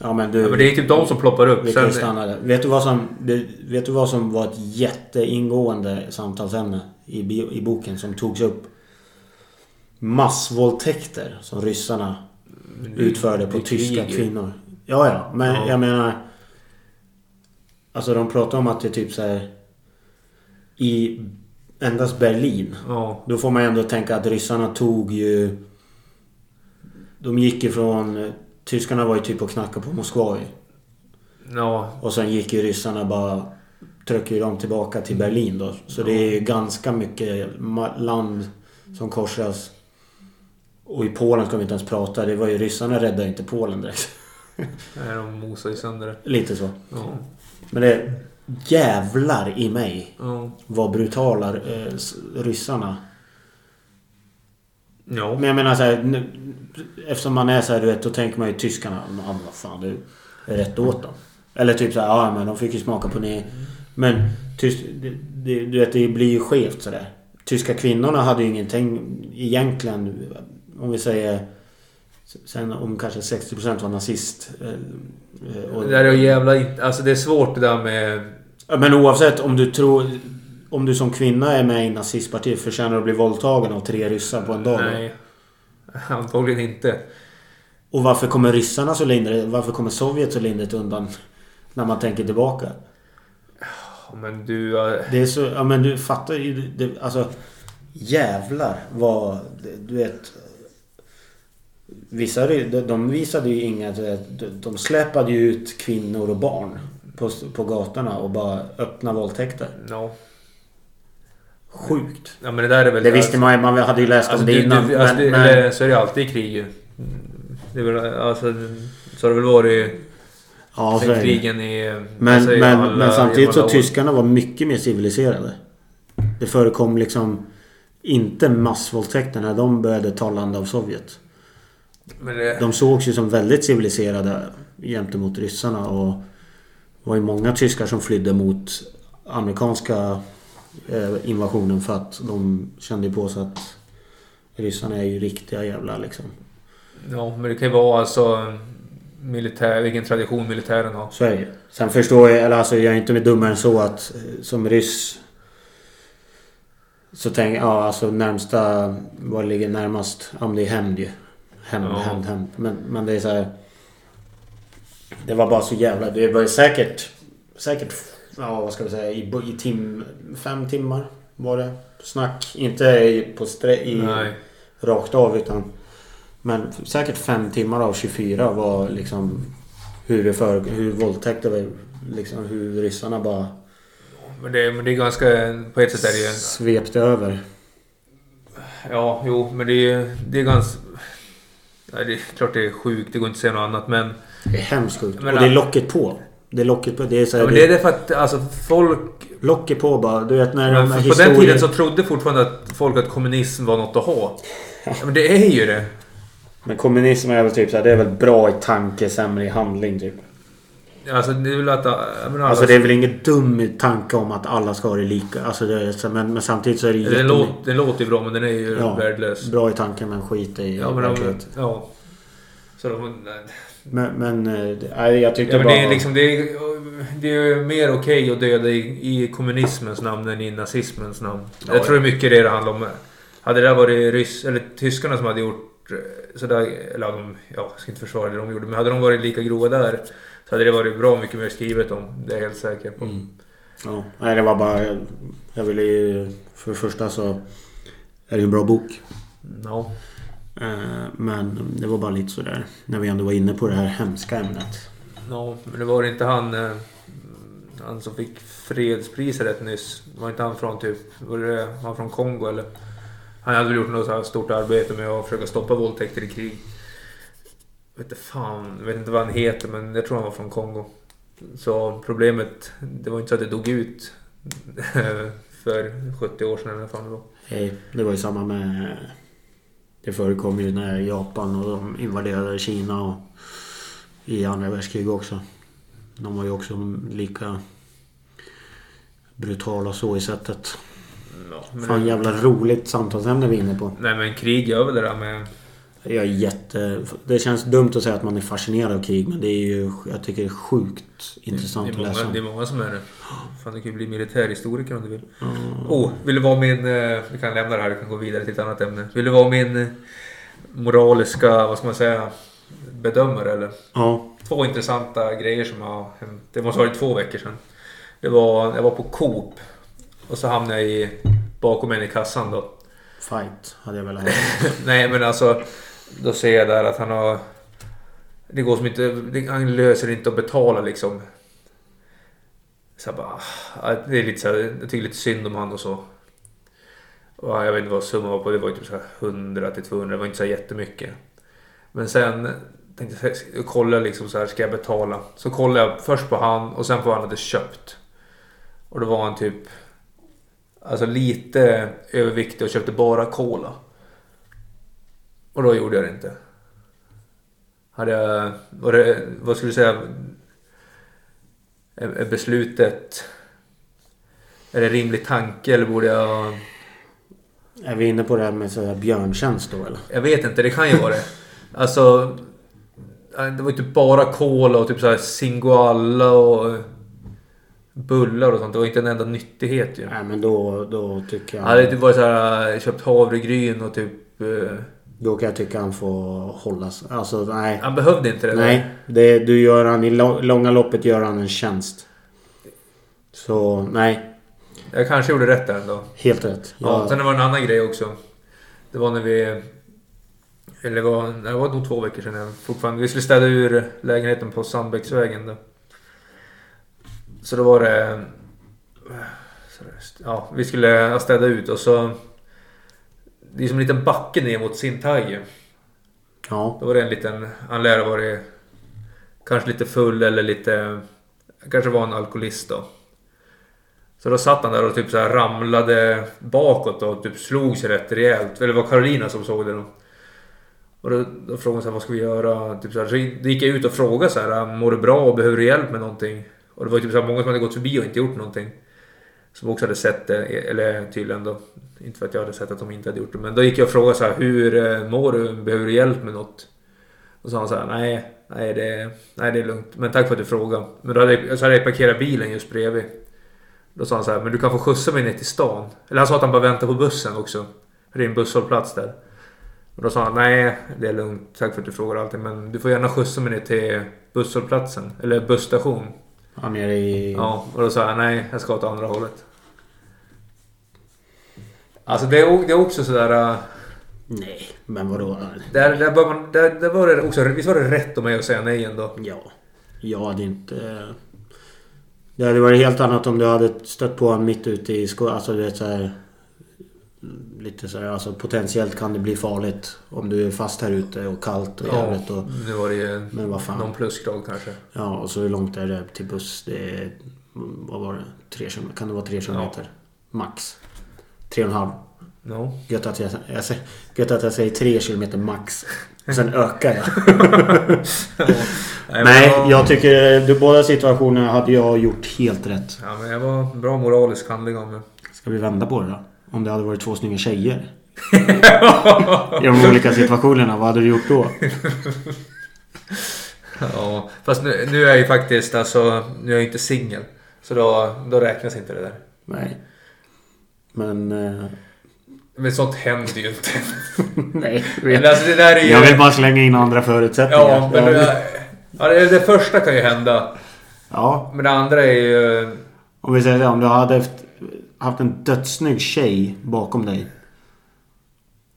Ja men du.
Ja, men det är typ de som ploppar upp.
vi kan ju
Sen,
stanna där. Vet du vad som... du- Vet du vad som var ett jätteingående samtalsämne i, bi- i boken som togs upp? Massvåldtäkter som ryssarna utförde på
Det är
tyska
krig ju.
kvinnor. Ja, ja. Men
Ja.
jag menar... Alltså de pratar om att det är typ så här... I endast Berlin.
Ja.
Då får man ändå tänka att ryssarna tog ju... De gick ifrån... Tyskarna var ju typ och knackade på Moskva ju.
Ja.
Och sen gick ju ryssarna bara... Tryckte ju dem tillbaka till Berlin då. Så det är ju ganska mycket ma- land som korsas. Och i Polen ska vi inte ens prata. Det var ju ryssarna räddade inte Polen direkt.
Nej, de mosar ju sönder det.
Lite så.
Ja.
Men det... Jävlar i mig
Ja.
vad brutala eh, s- ryssarna
Ja.
Men jag menar så här, nu, Eftersom man är så här, du vet, då tänker man ju tyskarna. Ja, men vad fan, det är rätt åt dem. Eller typ så här, ja men de fick ju smaka på ni. Men tyst, det, det, du vet, det blir ju skevt sådär. Tyska kvinnorna hade ju ingenting egentligen. Om vi säger... Sen om kanske 60% var nazist. eh, eh,
Det där är ju jävla... in- Alltså det är svårt det där med...
Ja, Men oavsett om du tror... Om du som kvinna är med i nazistpartiet förtjänar du att bli våldtagen av tre ryssar på en dag. då?
Nej. Antagligen inte.
Och varför kommer ryssarna så lindrigt? Varför kommer Sovjet så lindrigt undan? När man tänker tillbaka.
Ja, Men du... eh,
Det är så... Ja men du fattar ju. Det, alltså... Jävlar vad... Du vet... Vissa, ry- de- de visade ju inga... du vet, de- De släpade ju ut kvinnor och barn. På, på gatorna och bara öppna våldtäkter.
Ja.
Sjukt.
Ja men det där är väl...
Det visste man ju. Man hade ju läst
Alltså,
om det
du,
innan.
du, alltså,
men,
det,
men,
eller så är det alltid krig ju. Mm, Det är väl, alltså, så har det väl varit
ja, så
sen
är det.
krigen i...
Men,
alltså, i
men,
alla-
men samtidigt
i
så
alla år.
tyskarna var mycket mer civiliserade. Det förekom liksom inte massvåldtäkter när de började ta land av Sovjet.
Men det,
De sågs ju som väldigt civiliserade gentemot ryssarna och det var ju många tyskar som flydde mot amerikanska eh, invasionen för att de kände på sig att ryssarna är ju riktiga jävla liksom.
ja, men det kan ju vara alltså... Militär, vilken tradition militären har.
Så är det ju. Sen förstår jag, eller alltså jag är inte mer dummare än så att eh, som ryss så tänker jag, ja alltså närmsta, vad ligger närmast? Ja men det är hämnd ju. Hämnd,
Ja.
hämnd, hämnd. Men, men det är så här. Det var bara så jävla, det var ju säkert, säkert, ja vad ska vi säga, i, bo- i tim, fem timmar var det. Snack, inte i, på stre, i,
Nej.
rakt av utan Men säkert fem timmar av 24 var liksom Hur det för, hur våldtäkter var liksom hur ryssarna bara
Men det, men det är ganska... På ett sätt är det ju...
svepte över.
Ja, jo, men det är ju... Det är ganska... Nej, det är klart det är sjukt. Det går inte att säga något annat, men...
Det är hemskt sjukt.
Men
Och det är
att-
locket på. Det är locket på. Det är så
Ja,
här,
men
det
det är det för att alltså, folk...
Locket på bara. Du vet när
Men
de
för
här
på den
historier-
tiden så trodde fortfarande att folk att kommunism var något att ha. Ja, men det är ju det.
Men kommunism är väl typ så här, det är väl bra i tanke, sämre i handling typ.
Alltså det är väl att... jag menar,
Alltså det är väl ingen dum tanke om att alla ska ha det lika. Alltså det är, så- men, men samtidigt så är det
den,
jättemycket-
låt, den låter ju bra men den är ju
Ja,
värdelös.
Bra i tanken men skit i
Ja, men de,
verkligheten.
ja. Så de, nej.
Men, men eh, det- nej, jag tyckte
ja, men
bara...
det är liksom... Det är, det är ju mer okej att döda i, i kommunismens namn än i nazismens namn.
Ja,
jag tror det är mycket det det handlar om. Hade det där varit ryss, eller tyskarna som hade gjort eh, sådär... Eller hade de, ja, jag ska inte försvara det de gjorde. Men hade de varit lika grova där så hade det varit bra mycket mer skrivet om. Det är jag helt säker på.
Mm. Ja, nej, det var bara... Jag, jag ville ju... För det första så är det ju en bra bok.
Ja.
Eh, Men det var bara lite sådär när vi ändå var inne på det här hemska ämnet.
Ja, men det var inte han... eh, Han som fick fredspriset rätt nyss. Var inte han från typ... Var det han från Kongo eller? Han hade väl gjort något så här stort arbete med att försöka stoppa våldtäkter i krig. Jag vet inte fan, jag vet inte vad han heter men jag tror han var från Kongo. Så problemet, det var inte så att det dog ut för 70 år sedan eller vad fan det var.
Nej, Eh, det var ju samma med... Det förekom ju när Japan och de invaderade Kina och i andra världskriget också. De var ju också lika brutala så i sättet.
Ja, men
Fan jävla roligt samtalsämne vi är inne på.
Nej men krig gör väl det där med...
Jag är jätte... Det känns dumt att säga att man är fascinerad av krig men det är ju... Jag tycker det är sjukt intressant
det,
att
är många,
läsa.
det är många som är det. Fan du kan ju bli militärhistoriker om du vill.
Ja.
Oh, vill du vara min... eh, Vi kan lämna det här, vi kan gå vidare till ett annat ämne. Vill du vara min eh, moraliska, vad ska man säga, bedömare eller?
Ja.
Två intressanta grejer som har hänt. Det måste ha varit två veckor sedan. Det var, jag var på Coop. Och så hamnade jag i, bakom en i kassan då.
Fight hade jag velat ha.
Nej men alltså. Då ser jag där att han har... Det går som inte... det- Han löser inte att betala liksom. Så jag bara... ah, Det är lite så här, jag tycker lite synd om han och så. Och ah, jag vet inte vad summan var på. Det var ju typ så här 100 till 200. Det var inte så här jättemycket. Men sen tänkte jag, jag kolla liksom så här. Ska jag betala? Så kollade jag först på han och sen på vad han hade köpt. Och då var han typ... Alltså lite överviktig och köpte bara cola. Och då gjorde jag det inte. Hade jag, var det, vad skulle du säga? Är är beslutet... Är det rimlig tanke eller borde jag...
Är vi inne på det här med så här björntjänst då eller?
Jag vet inte, det kan ju vara det. Alltså... Det var ju typ bara cola och typ så här singoalla och... Bullar och sånt. Det var inte en enda nyttighet ju.
Nej men då, då tycker
Jag
jag...
hade typ varit så här, köpt havregryn och typ... eh,
Då kan jag tycka han får hållas. Alltså nej.
Han behövde inte det.
Nej. Det, du gör han, I lo- långa loppet gör han en tjänst. Så nej.
Jag kanske gjorde rätt där ändå.
Helt rätt.
Ja.
Jag,
Sen det var en annan grej också. Det var när vi... Eller det var, nej, det var nog två veckor sedan. jag Fortfarande. Vi skulle städa ur lägenheten på Sandbäcksvägen. Då. Så då var det... Ja, vi skulle städa ut och så... Det är som en liten backe ner mot Sintai. ju.
ja.
Då var det en liten... Han lär ha varit kanske lite full eller lite... Kanske var en alkoholist då. Så då satt han där och typ så här ramlade bakåt och typ slog sig rätt rejält. Eller det var Carolina som såg det då. Och då, då frågade hon så här, vad ska vi göra? Typ så här, så då gick jag ut och frågade så här, "Äh, mår du bra och behöver du hjälp med någonting? Och det var ju typ så här, många som hade gått förbi och inte gjort någonting. Som också hade sett det, e- eller tydligen då. Inte för att jag hade sett att de inte hade gjort det. Men då gick jag och frågade så här, hur eh, mår du? Behöver du hjälp med något? Och så sa han så här, nej, nej det, nej det är lugnt. Men tack för att du frågade. Men då hade jag, så hade jag parkerat bilen just bredvid. Då sa han så här, men du kan få skjutsa mig ner till stan. Eller han sa att han bara väntar på bussen också. För det är en busshållplats där. Och då sa han, nej det är lugnt, tack för att du frågar och allting. Men du får gärna skjutsa mig ner till busshållplatsen. Eller busstation.
Mm. Han är i...
Ja, och då sa jag nej, jag ska åt andra hållet. Alltså det är, o- det är också sådär... äh,
Nej. Men vadå?
Där, där, bör man, där, där var det också, visst var det rätt av mig att säga nej ändå?
Ja. Jag hade inte... Det hade varit helt annat om du hade stött på honom mitt ute i skogen. Alltså du vet så här... Lite så här, alltså potentiellt kan det bli farligt. Om du är fast här ute och kallt och jävligt och...
nu var det ju
Men vad fan.
någon plusgrad kanske.
Ja, och så hur långt är det till buss? Det är, vad var det? Tre kilometer? Kan det vara tre kilometer? Max. Tre och en halv.
No.
Gött att jag, jag, sä- gött att jag säger tre kilometer max. Och sen ökar jag.
Nej,
Nej,
men jag...
jag tycker du, båda situationerna hade jag gjort helt rätt.
Ja, men jag var en bra moralisk handling av mig.
Ska vi vända på det då? Om det hade varit två snygga tjejer. I de olika situationerna, vad hade du gjort då?
ja, fast nu, nu är jag ju faktiskt alltså, nu är jag ju inte singel. Så då, då räknas inte det där.
Nej. Men... Eh,
Men sånt händer ju inte.
nej.
Eller, alltså, det där är ju...
Jag vill bara slänga in andra förutsättningar.
Ja, men det, ja, det, det första kan ju hända.
ja,
Men det andra är ju...
Om vi säger så, här, om du hade haft, haft en dödssnygg tjej bakom dig.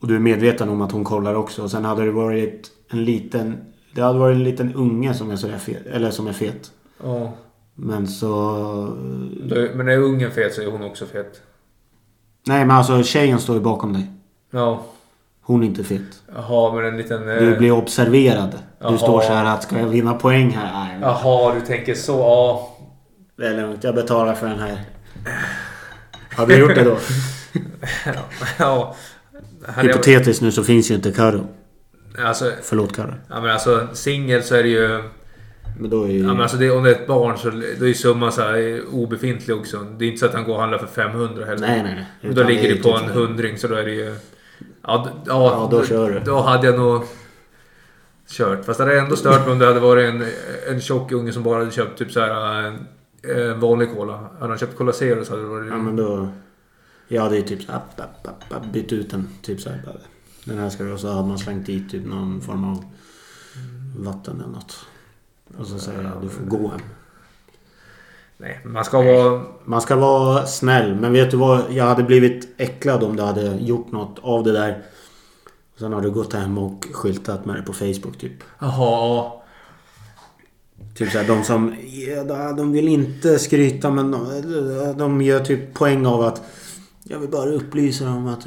Och du är medveten om att hon kollar också. Och sen hade det varit en liten Det hade varit en liten unge som är, sådär fet, eller som är fet.
Ja.
Men så...
Då- Men är ungen fet så är hon också fet.
Nej men alltså tjejen står ju bakom dig.
Ja.
Hon är inte fet.
Jaha, men en liten... eh,
Du blir observerad.
Jaha.
Du står så här att ska jag vinna poäng här? Nej.
Jaha, du tänker så. Ja.
Det är lugnt. Jag betalar för den här. Hade du gjort det då?
ja. Hade jag-
Hypotetiskt nu så finns ju inte Karo.
Alltså,
Förlåt Karo.
ja, men alltså singel så är det ju...
Men då är ju...
Ja, men alltså det, om det är ett barn så då är ju summan så här eh, obefintlig också. Det är inte så att han går och handlar för 500 heller.
Nej, nej, nej.
Men Då
Utan
ligger
det är
det på
typ
en
så-
hundring så då är det ju... Ja, d-
Ja, då kör du.
Då hade jag nog kört. Fast det hade ändå stört mig om det hade varit en, en tjock unge som bara hade köpt typ så här en, en vanlig cola. Hade han köpt Cola Zero så hade det varit...
Ja men då... Ja det är typ så här, app, app, app, app, bytt ut den. Typ så här. Den här ska du... Och så har man slängt dit typ någon form av vatten eller något. Och så säger jag du får gå hem.
Nej, man ska vara...
Man ska vara snäll. Men vet du vad? Jag hade blivit äcklad om du hade gjort något av det där. Sen har du gått hem och skyltat med det på Facebook typ.
Jaha,
Typ såhär de som... ja, De vill inte skryta men de- de gör typ poäng av att... Jag vill bara upplysa dem att...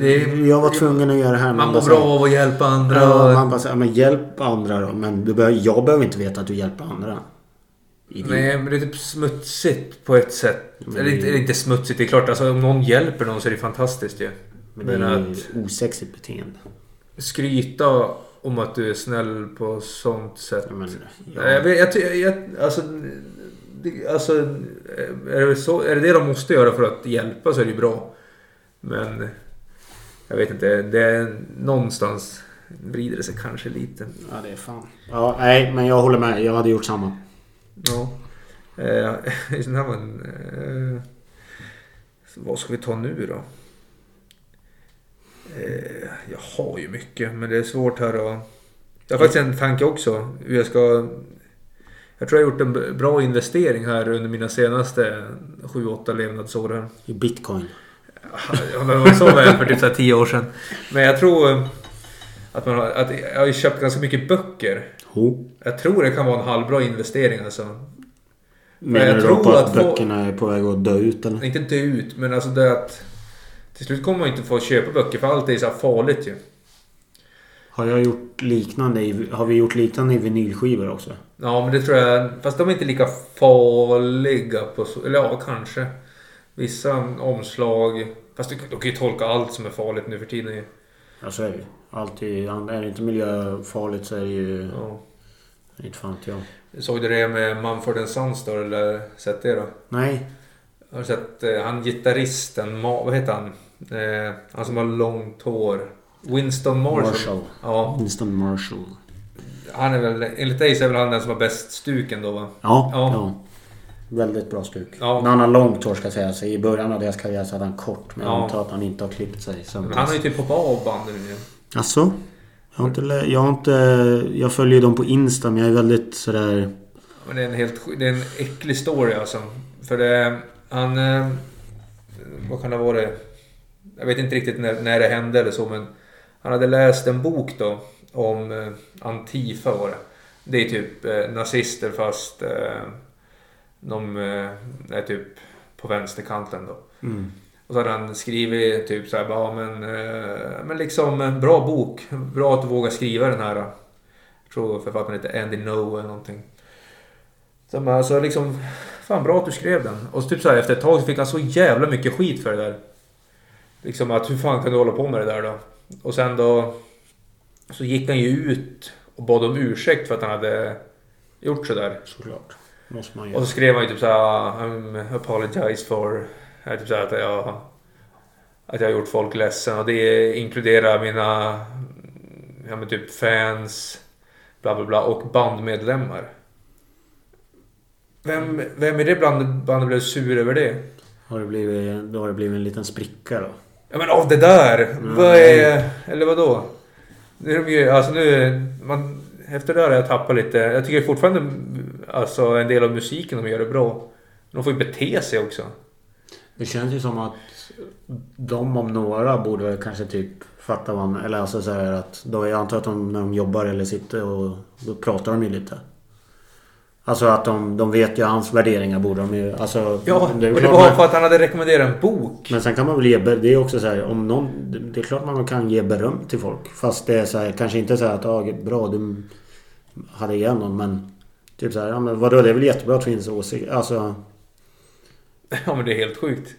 Det-
jag var tvungen att göra det här. men
man mår
bara
bra
så här-
av att hjälpa andra.
Ja, man bara säger, men hjälp andra då. Men du behöver, jag behöver inte veta att du hjälper andra. Idiot.
Nej, men det är typ smutsigt på ett sätt. Eller inte, eller inte smutsigt, det är klart. Alltså, om någon hjälper någon så är det fantastiskt ju.
men
Men,
det är ju
att
osexigt beteende.
skryta om att du är snäll på sånt sätt.
Ja, men, ja.
Nej, Jag, vet- jag, ty- jag, alltså, det, alltså, är, det väl så, är det det de måste göra för att hjälpa så är det ju bra. Men jag vet inte, det är någonstans vrider det sig kanske lite.
ja, det är fan. Ja, nej, men jag håller med. Jag hade gjort samma.
Ja. Eh, den här var en, eh, vad ska vi ta nu då? Eh, jag har ju mycket, men det är svårt här att... Jag har faktiskt en tanke också. Hur jag ska... Jag tror jag har gjort en b- bra investering här under mina senaste 7-8 levnadsår. Här.
I bitcoin.
Ja, men det var så var jag för typ så här 10 år sedan. Men jag tror eh, att, man har, att jag har ju köpt ganska mycket böcker.
Ho.
Jag tror det kan vara en halvbra investering alltså.
Menar
jag
du
tror
då på att,
att få-
böckerna är på väg att dö ut eller?
Inte dö ut, men alltså det att... Till slut kommer man inte få köpa böcker för allt är så här farligt ju.
Har jag gjort liknande i, Har vi gjort liknande i vinylskivor också?
Ja, men det tror jag... Fast de är inte lika farliga på så... Eller ja, kanske. Vissa omslag... Fast du, du kan ju tolka allt som är farligt nu för tiden ju.
Ja, så är det ju. Allt är ju- Är det inte miljöfarligt så är det ju...
Ja.
Inte fan vet jag.
Såg du det med Mumford Sons då, eller sett det då?
Nej.
Har du sett eh, han gitarristen, Ma- vad heter han? Eh, han som har långt hår. Winston Marshall.
Marshall.
Ja,
Winston Marshall.
han är väl, enligt dig så är väl han den som har bäst stuk ändå va?
Ja,
Ja.
ja. Väldigt bra stuk.
Ja.
Men han har långt hår ska sägas. I början av deras karriär så hade han kort. Men jag
Ja.
antar att han inte har klippt sig sen
Men han har ju typ hoppat av bandet nu.
Alltså? Jag har inte... lä- Jag, har inte jag följer ju dem på Insta men jag är väldigt sådär...
Men det är en helt sj- det är en äcklig story alltså. För det, han... eh, Vad kan det ha varit? Jag vet inte riktigt när, när det hände eller så men... Han hade läst en bok då om eh, Antifa var det. Det är typ eh, nazister fast eh, de eh, är typ på vänsterkanten då. Och så hade han skrivit typ så här, bara, ja, men, eh, men liksom en bra bok. Bra att du vågar skriva den här. Jag tror författaren heter Andy No eller någonting. Så man, alltså liksom, fan bra att du skrev den. Och så typ så här, efter ett tag så fick han så jävla mycket skit för det där. Liksom att hur fan kan du hålla på med det där då? Och sen då så gick han ju ut och bad om ursäkt för att han hade gjort sådär.
Såklart. Måste man
Och
göra.
så skrev han ju typ såhär I'm apologize for... eh, Typ så här att jag... Att jag har gjort folk ledsen och det inkluderar mina... Ja men typ fans... Bla bla bla och bandmedlemmar. Vem, vem i det bland- bandet blev sur över det?
Har det blivit, då har det blivit en liten spricka då.
Ja men av det där! Vad är... Eller vadå? Nu är de ju, alltså nu... är- Man, efter det där har jag tappat lite. Jag tycker fortfarande alltså, en del av musiken de gör är bra. De får ju bete sig också.
Det känns ju som att de om några borde kanske typ fatta vad man... Eller alltså så här att... Då jag antar att de när de jobbar eller sitter och... Då pratar de ju lite. Alltså att de, de vet ju hans värderingar borde de ju... Alltså...
Ja,
det är
och det
klart
var
man-
för att han hade rekommenderat en bok.
Men sen kan man väl ge... ber- Det är också så här, om någon... Det är klart man kan ge beröm till folk. Fast det är så här, kanske inte så här att ah, bra du hade igen någon men... Typ så här, ja men vadå det är väl jättebra att det finns åsikter. Alltså...
Ja, men det är helt sjukt.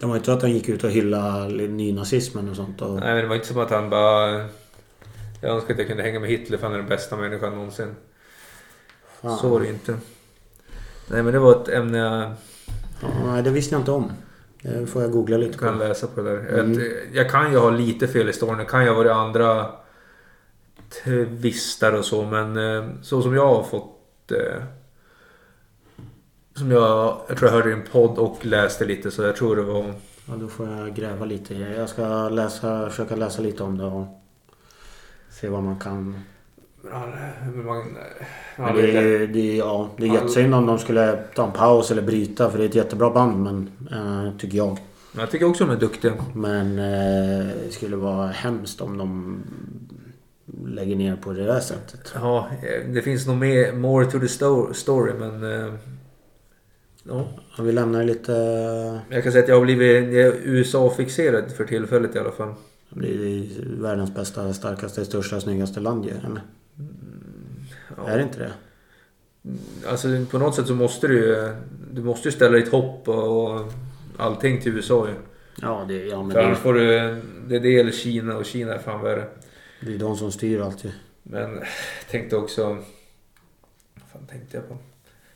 Det var ju inte att han gick ut och hyllade nynazismen och sånt. Och,
Nej, men det var inte som att han bara... Jag önskar att jag kunde hänga med Hitler för han är den bästa människan någonsin.
Fan.
Så var det inte. Nej, men det var ett ämne jag
Ja, nej, det visste jag inte om. Det får jag googla lite
kan
på.
läsa på det där.
Mm.
Att, eh, jag kan ju ha lite fel i storyn. Det kan ju ha varit andra tvistar och så. Men eh, så som jag har fått... eh, Som jag, jag tror jag hörde i en podd och läste lite så jag tror det var...
Ja, då får jag gräva lite. i det. Jag ska läsa, försöka läsa lite om det och se vad man kan.
Ja, men man,
Men det, är- det, är- ja, det är jättesynd om de skulle ta en paus eller bryta för det är ett jättebra band men, eh, tycker jag.
jag tycker också de är duktiga.
Men eh, det skulle vara hemskt om de lägger ner på det där sättet.
Ja, eh, det finns nog mer more to the sto- story men... eh, Ja.
Ja, Vi lämnar lite eh,
Jag kan säga att jag har blivit jag är USA-fixerad för tillfället i alla fall.
Det är ju världens bästa, starkaste, största, snyggaste land ju. eller?
Ja.
Är det inte det?
Alltså på något sätt så måste du ju... Du måste ju ställa ditt hopp och och allting till USA ju.
Ja, det, ja men
För annars
det,
får du... Det är det eller Kina och Kina är fan värre.
det är de som styr allt ju.
Men eh, tänkte också... Vad fan tänkte jag på?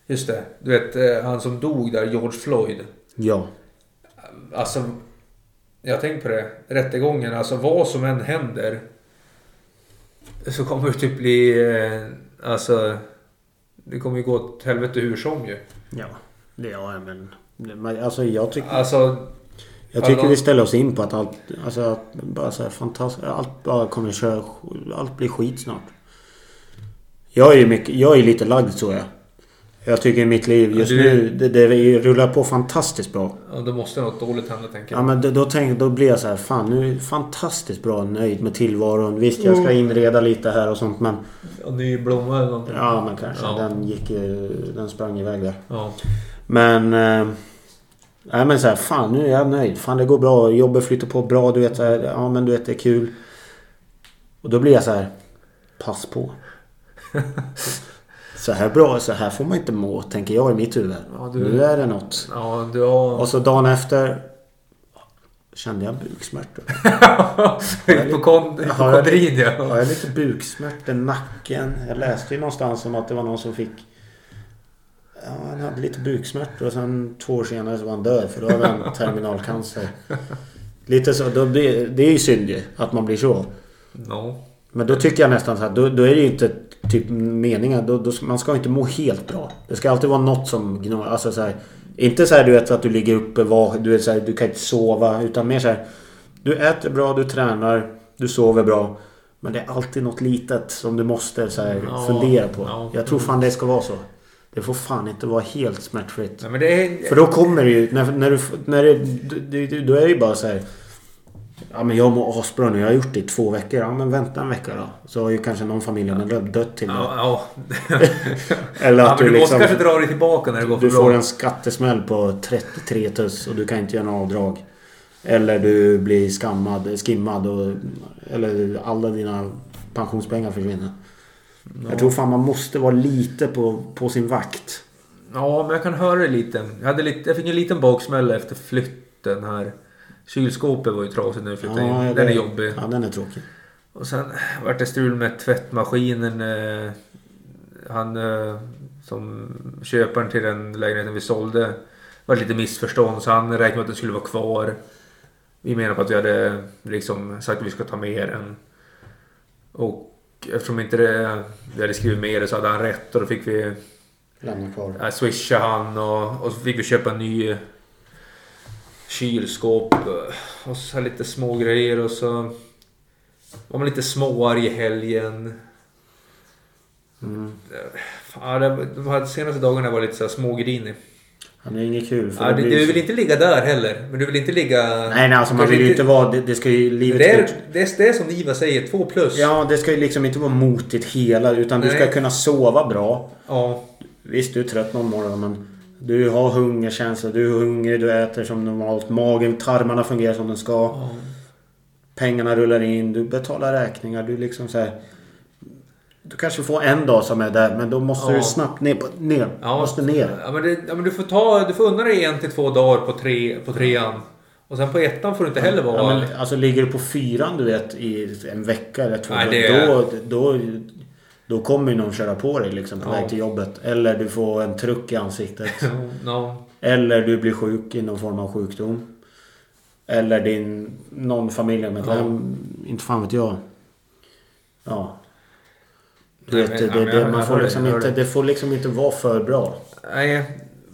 Just det. Du vet eh, han som dog där, George Floyd.
Ja.
Alltså, jag tänkte på det. Rättegången, alltså vad som än händer. Så kommer det typ bli, eh, alltså. Det kommer ju gå åt helvete hur som ju.
Ja. Det, ja, men... det- men Alltså jag tycker...
Alltså,
Jag tycker
Alla-
vi ställer oss in på att allt... Alltså att bara så här fantastiskt... Allt bara kommer köra... Allt blir skit snart. Jag är ju mycket... Jag är lite lagd så jag. Jag tycker i mitt liv just
Du-
nu... Det, det rullar på fantastiskt bra.
ja, då måste något dåligt hända tänker
Ja
jag.
men då, då, tänk, då blir jag så här, fan nu är jag fantastiskt bra nöjd med tillvaron. Visst jag
Mm.
ska inreda lite här och sånt men...
Och ny blomma eller någonting.
Ja men kanske.
Ja.
Den gick ju... Den sprang iväg där.
Ja.
Men... Eh, nej men så här, fan nu är jag nöjd. Fan det går bra. Jobbet flyter på bra. Du vet så här, ja men du vet det är kul. Och då blir jag så här, pass på. så här bra, så här får man inte må tänker jag i mitt huvud.
Ja, du-
Nu är det något.
Ja, du har...
Och så dagen efter kände jag buksmärtor.
Hypokondrin
Ja,
ja.
jag har lite buksmärtor, nacken. Jag läste ju någonstans om att det var någon som fick... Ja, han hade lite buksmärtor och sen två år senare så var han död för då hade han terminalcancer. Lite så. Då blir, det är ju synd ju att man blir så.
No.
Men då tycker jag nästan så här, då, då är det ju inte typ meningen. Då, då, man ska inte må helt bra. Det ska alltid vara något som gnager. Alltså så här, inte så här du vet att du ligger uppe, var, du, är så här, du kan inte sova. Utan mer så här, du äter bra, du tränar, du sover bra. Men det är alltid något litet som du måste så här,
Ja,
fundera på.
ja.
Jag tror fan det ska vara så. Det får fan inte vara helt smärtfritt.
Nej, men det är...
För då kommer det ju... När, när du, när det, du, du, då är det ju bara så här... Ja men jag mår asbra nu. Jag har gjort det i två veckor. Ja men vänta en vecka då. Så har ju kanske någon familjemedlem dött till det.
Ja, ja.
Eller
ja
att
men
du
du måste
liksom...
kanske dra dig tillbaka när det går för
Du
bra.
får en skattesmäll på 33 tus och du kan inte göra några avdrag. Eller du blir skammad, skimmad och... Eller alla dina pensionspengar försvinner. Jag tror fan man måste vara lite på, på sin vakt.
Ja, men jag kan höra det lite. Jag, hade lite, jag fick en liten baksmälla efter flytten här. Kylskåpet var ju trasigt när vi flyttade in. Den är jobbig.
Ja, den är tråkig.
Och sen vart det strul med tvättmaskinen. eh, Han eh, som köparen till den lägenheten vi sålde. Det var lite missförstånd så han räknade med att den skulle vara kvar. Vi menar på att vi hade liksom sagt att vi ska ta med den. Och eftersom inte det, vi hade skrivit med det så hade han rätt och då fick vi
Lämna kvar.
jag swishade han och, och så fick vi köpa en ny eh, kylskåp eh, och så här lite små grejer och så var man lite småarg i helgen. Eh,
Mm.
Fan, det, de här senaste dagarna var jag lite så här smågrinig.
Ja, det är inget kul. För
Ja,
det
du,
blir
du
ju
vill
så-
inte ligga där heller. Men du vill inte ligga...
Nej, nej, alltså man
kanske
vill ju inte vara... Det, det ska ju... Livet
Det
ska
är,
ju-
det, är, det är som Iva säger, två plus.
Ja, det ska ju liksom inte vara motigt hela utan du ska
Nej.
kunna sova bra.
Ja.
Visst, du är trött någon morgon men du har hungerkänsla, du är hungrig, du äter som normalt. Magen, tarmarna fungerar som de ska.
Ja.
Pengarna rullar in, du betalar räkningar, du liksom så här. Du kanske får en dag som är där men då måste
Ja.
du snabbt ner. på- ner.
Ja.
Måste ner.
Ja, men det, ja, men du får ta... Du får unna dig en till två dagar på, tre, på trean. Och sen på ettan får du inte heller vara...
Ja, men, alltså ligger du på fyran du vet i en vecka eller två
Nej, det är-
veckor, då, då, då kommer ju någon köra på dig liksom på
Ja.
väg till jobbet. Eller du får en truck i ansiktet.
Ja.
Eller du blir sjuk i någon form av sjukdom. Eller din, någon familjemedlem. Inte fan vet jag. Ja. Du
Nej, men-
vet, det,
ja, men
det,
jag-
man
jag
får
hör
liksom
dig, jag
inte,
hör
det får liksom inte vara för bra.
Nej,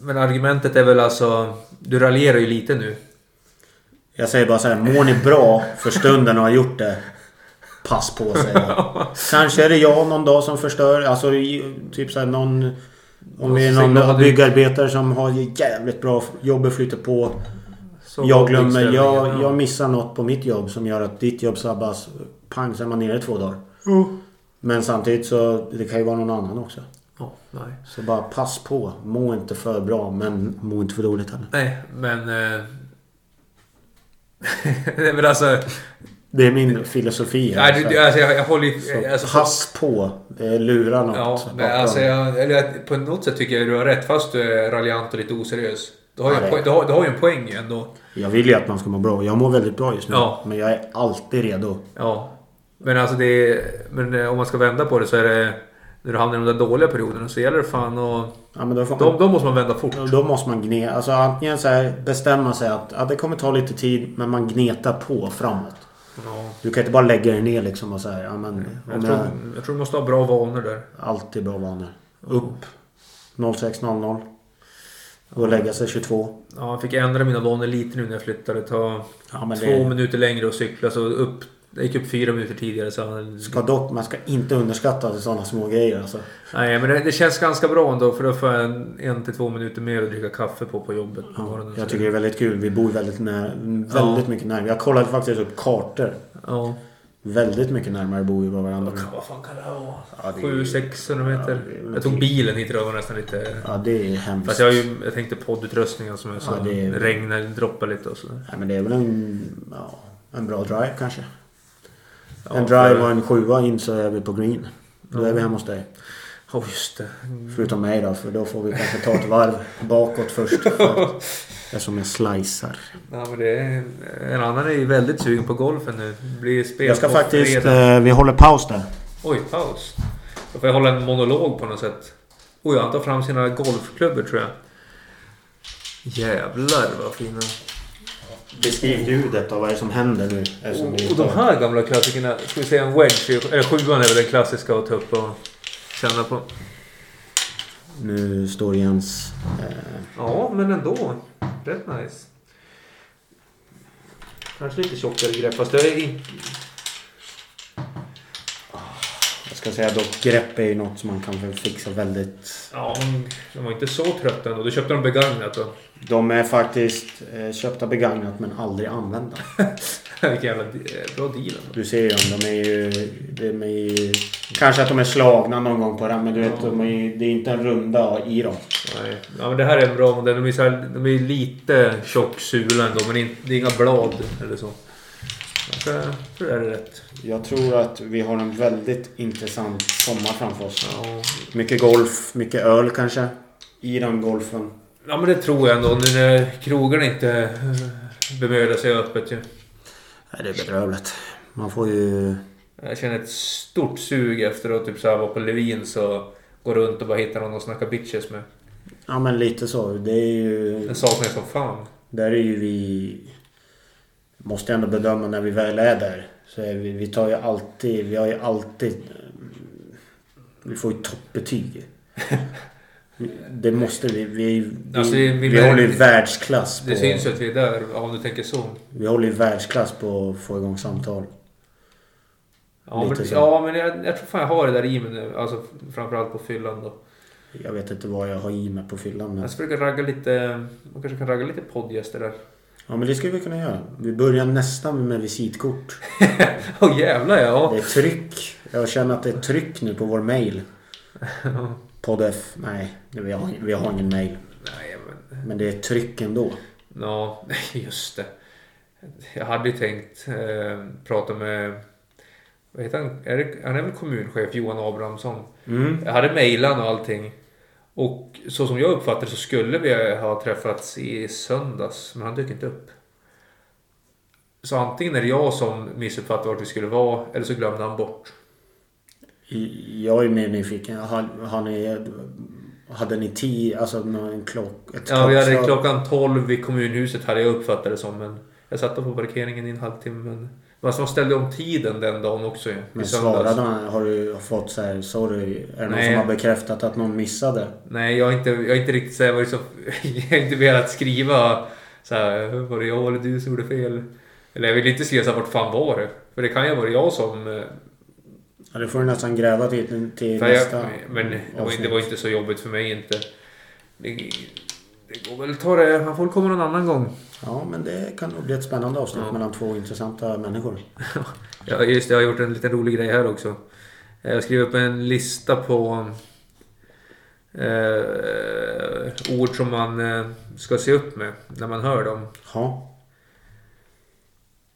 men argumentet är väl alltså... Du raljerar ju lite nu.
Jag säger bara så här, mår ni bra för stunden och har gjort det? Pass på säger jag. Kanske är det jag någon dag som förstör. Alltså i- typ så här någon... Om det är någon
Signal-
byggarbetare som har jävligt bra jobb och flyter på.
Så
jag glömmer,
ställningen,
jag,
ja.
jag missar något på mitt jobb som gör att ditt jobb sabbas. Pang så är man nere i två dagar. Men samtidigt så det kan ju vara någon annan också.
Ja, nej.
Så bara pass på. Må inte för bra men må inte för dåligt heller.
Nej, men... Eh... Nej, men alltså...
Det är min filosofi. här,
Nej,
så
du,
här.
du, alltså jag, jag håller ju...
Så
Alltså,
pass på. eh, Lura något.
Ja,
bakom.
men alltså jag, eller jag, på något sätt tycker jag du har rätt fast du är raljant och lite oseriös. Du har, ju,
Ja,
en
det-
poäng, du har, du har ju en poäng ändå.
Jag vill ju att man ska må bra. Jag mår väldigt bra just nu.
Ja.
Men jag är alltid redo.
Ja. Men alltså det är, Men eh, om man ska vända på det så är det... När du hamnar i de där dåliga perioderna så gäller det fan och...
Ja, men då, får
Då, då måste man vända fort.
man, då måste man gneta. Alltså antingen så här bestämma sig att ja, det kommer ta lite tid men man gnetar på framåt.
Ja.
Du kan inte bara lägga dig ner liksom och säga ja, men
Jag,
om
tror,
jag
jag tror du måste ha bra vanor där.
alltid bra vanor. Upp 06.00. Gå och lägga sig 22.
Ja, jag fick ändra mina vanor lite nu när jag flyttade. Ta
Ja, men
två
det-
minuter längre och cykla. Så upp, jag gick upp fyra minuter tidigare. Så
Ska dock, man ska inte underskatta sådana små grejer alltså.
Nej, men det, det känns ganska bra ändå. För då får jag en, en till två minuter mer att dricka kaffe på på jobbet. på morgonen.
Jag tycker det är väldigt kul. Vi bor väldigt, när, väldigt mycket närmare. Jag kollade faktiskt upp kartor.
Ja.
Väldigt mycket närmare bor vi bara varandra.
Vad fan kan det här vara?
Ja, det är-
Sju, sex kilometer.
Ja, det är- typ-
jag tog bilen hit idag. Det var nästan lite...
Ja, det är hemskt.
Fast jag, har ju, jag tänkte poddutröstningen som är så
Ja, det är-
regnar, droppar lite och sådär.
Nej, men det är väl en, ja, en bra drive kanske.
Ja,
en drive
för-
och en sjua in så är vi på green. Då är vi hemma hos dig.
Ja, just det.
Förutom mig då, för då får vi kanske ta ett varv bakåt först. För att, eftersom jag slicear.
Ja, men det är, en annan är ju väldigt sugen på golfen nu. Det blir spel
Jag ska
på
faktiskt...
fredag.
Eh, vi håller paus där.
Oj, paus. Då får jag hålla en monolog på något sätt. Oj, han tar fram sina golfklubbor tror jag. Jävlar vad fina.
Beskriv ljudet av vad det är som händer nu.
Oh, Och,
Eftersom vi
och de här gamla klassikerna. Ska vi säga en wedge? Eller sjuan är väl den klassiska att ta upp och känna på.
Nu står Jens... Eh,
Ja, men ändå. Rätt nice. Kanske lite tjockare grepp. Fast det är inte...
jag ska säga dock, grepp är ju något som man kan väl fixa väldigt...
Ja, men de var inte så trötta ändå. Du köpte de begagnat då.
De är faktiskt eh, köpta begagnat men aldrig använda.
Vilken jävla eh, bra deal ändå.
Du ser ju dem. De är ju... De är ju kanske att de är slagna någon gång på den men du vet, de är ju, det är inte en runda i dem.
Nej. Ja, men det här är en bra modell. De är, så här, de är lite tjock sula ändå, men inte- det är inga blad eller så. Så jag tror det här är rätt.
Jag tror att vi har en väldigt intressant sommar framför oss.
Ja.
Mycket golf, mycket öl kanske. I den golfen.
ja, men det tror jag ändå. Nu när krogarna inte eh, bemödar sig öppet ju.
Nej, det är bedrövligt. Man får ju...
Jag känner ett stort sug efter att typ så här vara på Levins och gå runt och bara hitta någon att snacka bitches med.
Ja men lite så. Det är ju...
Den saknar jag som fan.
Där är ju vi... Måste ändå bedöma när vi väl är där. Så är vi, vi tar ju alltid... Vi har ju alltid... eh, Vi får ju toppbetyg. Det måste vi. Vi, vi,
Alltså,
vi,
vi-
håller ju världsklass på...
Det syns ju att vi är där, ja, om du tänker så.
Vi håller ju världsklass på att få igång samtal.
Ja,
Lite
men,
så.
ja, men jag, jag tror fan jag har det där i mig nu. Alltså framförallt på fyllan då.
Jag vet inte vad jag har i mig på fyllan. Men...
Jag ska försöka ragga lite... Man kanske kan ragga lite poddgäster där.
Ja men det skulle vi kunna göra. Vi börjar nästan med visitkort.
Åh jävlar ja!
Det är tryck. Jag känner att det är tryck nu på vår mail. Poddf. Nej, det- vi har, vi har ingen mail.
Nej men...
Men det är tryck ändå.
Ja, just det. Jag hade ju tänkt eh, prata med... Vad heter han? Är det, han är väl kommunchef, Johan Abrahamsson.
Mm.
Jag hade mejlan och allting. Och så som jag uppfattade så skulle vi ha träffats i söndags, men han dök inte upp. Så antingen är det jag som missuppfattade vart vi skulle vara, eller så glömde han bort.
Jag är mer nyfiken. Har, har ni, hade ni tio, alltså nå- en klock, ett
Ja, vi hade
klockslag?
klockan 12 i kommunhuset hade jag uppfattat det som, men jag satt på parkeringen i en halvtimme. Men men som ställde om tiden den dagen också ju, i
Men
söndags.
svarade han? Har du fått så här, sorry? Är det någon
Nej.
som har bekräftat att någon missade?
Nej, jag har inte, jag har inte riktigt så här, varit så, jag har inte velat skriva så här, var det jag eller du som gjorde fel? Eller jag vill inte skriva så här, vart fan var det? För det kan ju vara jag som... eh,
Ja, det får du nästan gräva till, till
För jag,
nästa
men det var,
avsnitt.
det var inte så jobbigt för mig inte. Det, det går väl att ta det, han får komma någon annan gång.
Ja, men det kan nog bli ett spännande avsnitt
Ja.
mellan två intressanta människor.
Ja, just det, jag har gjort en liten rolig grej här också. Eh, Jag skrev upp en lista på eh, ord som man eh, ska se upp med när man hör dem.
Ja.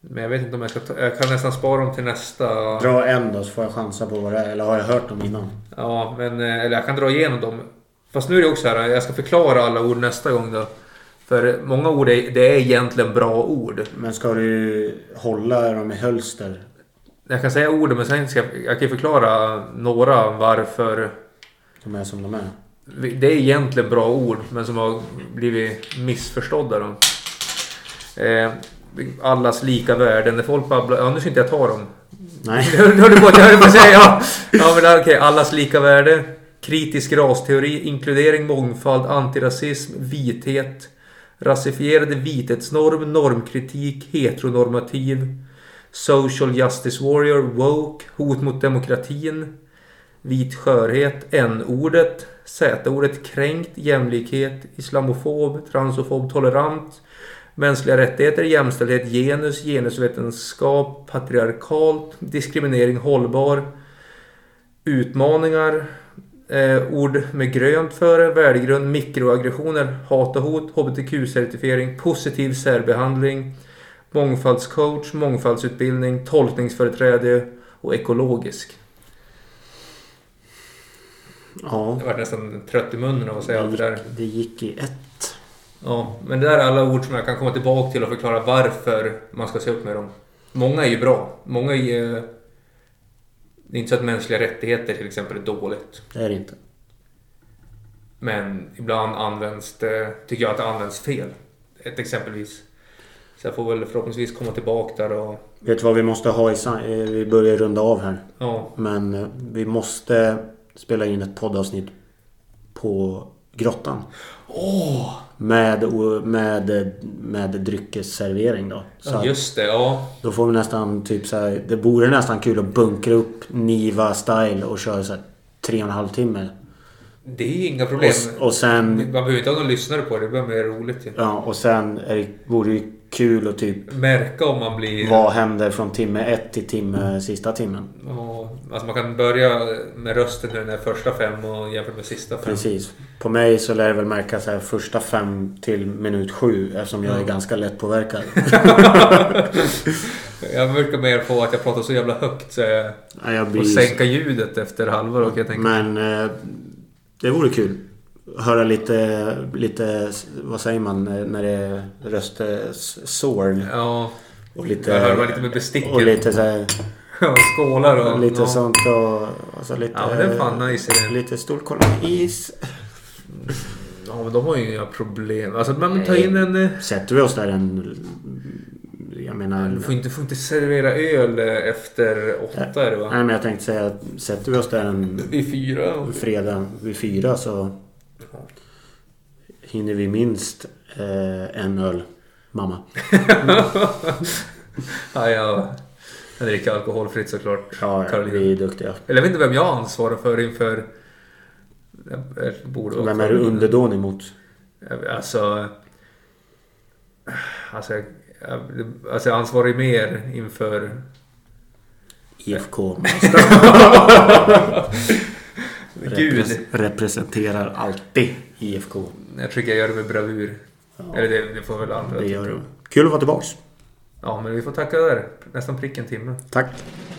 Men jag vet inte om jag ska ta, Jag kan nästan spara dem till nästa.
Dra en då så får jag chansa på vad det är. Eller har jag hört dem innan?
Ja, men eh, eller jag kan dra igenom dem. Fast nu är det också här, jag ska förklara alla ord nästa gång då. För många ord är, det är egentligen bra ord.
Men ska du hålla dem i hölster?
Jag kan säga orden men sen ska jag, jag kan ju förklara några varför.
De är som de är.
vi- Det är egentligen bra ord men som har blivit missförstådda då. Eh, allas lika värde. När folk babblar... Ja, nu ska inte jag ta dem.
Nej.
Nu höll du på att jag höll på att säga ja. ja men okej, allas lika värde. Kritisk rasteori, inkludering, mångfald, antirasism, vithet. Rasifierade vithetsnorm, normkritik, heteronormativ. Social justice warrior, woke, hot mot demokratin. Vit skörhet, n-ordet. Z-ordet, kränkt, jämlikhet, islamofob, transofob, tolerant. Mänskliga rättigheter, jämställdhet, genus, genusvetenskap, patriarkalt, diskriminering, hållbar, utmaningar, eh, ord med grönt före, värdegrund, mikroaggressioner, hat och hot, hbtq-certifiering, positiv särbehandling, mångfaldscoach, mångfaldsutbildning, tolkningsföreträde och ekologisk.
Ja.
Jag var nästan trött i munnen av att säga
Det
allt det där.
gick, det gick i ett.
Ja, men det där är alla ord som jag kan komma tillbaka till och förklara varför man ska se upp med dem. Många är ju bra. Många är ju... Det är inte så att mänskliga rättigheter till exempel är dåligt.
Det är det inte.
Men ibland används det, tycker jag att det används fel. Ett exempelvis. Så jag får väl förhoppningsvis komma tillbaka där och...
Vet du vad vi måste ha i sam- eh, Vi börjar runda av här.
Ja,
Men eh, vi måste spela in ett poddavsnitt på grottan. Åh! Med, o- med, eh, med dryckesservering då. Så att
just det. Ja.
då får vi nästan typ så här, Det vore nästan kul att bunkra upp Niva style och köra så här tre och en halv timme.
Det är inga
Och,
problem.
s- och sen...
Man behöver inte ha någon lyssnare på det. Det blir mer roligt ju.
Ja, och sen är det, vore det kul att typ...
Märka om man blir...
Vad händer från timme ett till timme sista timmen?
Ja, alltså man kan börja med rösten nu när första fem och jämfört med sista fem.
Precis. På mig så lär det väl märkas här första fem till minut sju eftersom jag är ganska lättpåverkad.
Jag brukar mer få att jag pratar så jävla högt så jag
Ja, jag
får
blir...
sänka ljudet efter halva då kan jag tänka.
Men eh, det vore kul. Höra lite, lite, vad säger man eh, när det är eh, röstsorn?
Ja,
Och lite...
jag hör man lite med besticken.
Och lite så här,
Ja, skålar och...
lite
ja.
sånt och... Alltså lite...
Ja, men den är fan nice i den.
Lite storkolonn is.
Ja, men de har ju inga problem. Alltså man tar in en... eh,
Sätter vi oss där en... Jag menar...
Du får inte, får inte servera öl eh, efter åtta är det va?
Nej men jag tänkte säga att sätter vi oss där en...
Vid fyra?
Mm.
och-
fredag vid fyra så hinner vi minst eh, en öl, mamma.
Ja, jag, jag dricker alkoholfritt såklart.
Ja,
Karolina.
vi är duktiga.
Eller jag vet inte vem jag ansvarar för inför... Jag borde
Vem är du underdånig mot?
Alltså... Alltså, jag, alltså jag ansvarar ju mer inför...
IFK.
Gud!
Repres- representerar alltid IFK.
Jag tycker jag gör det med bravur.
Ja,
Eller det, det får väl andra
det gör
tycka.
du. Kul att vara tillbaks.
Ja, men vi får tacka där. Nästan prick en timme.
Tack.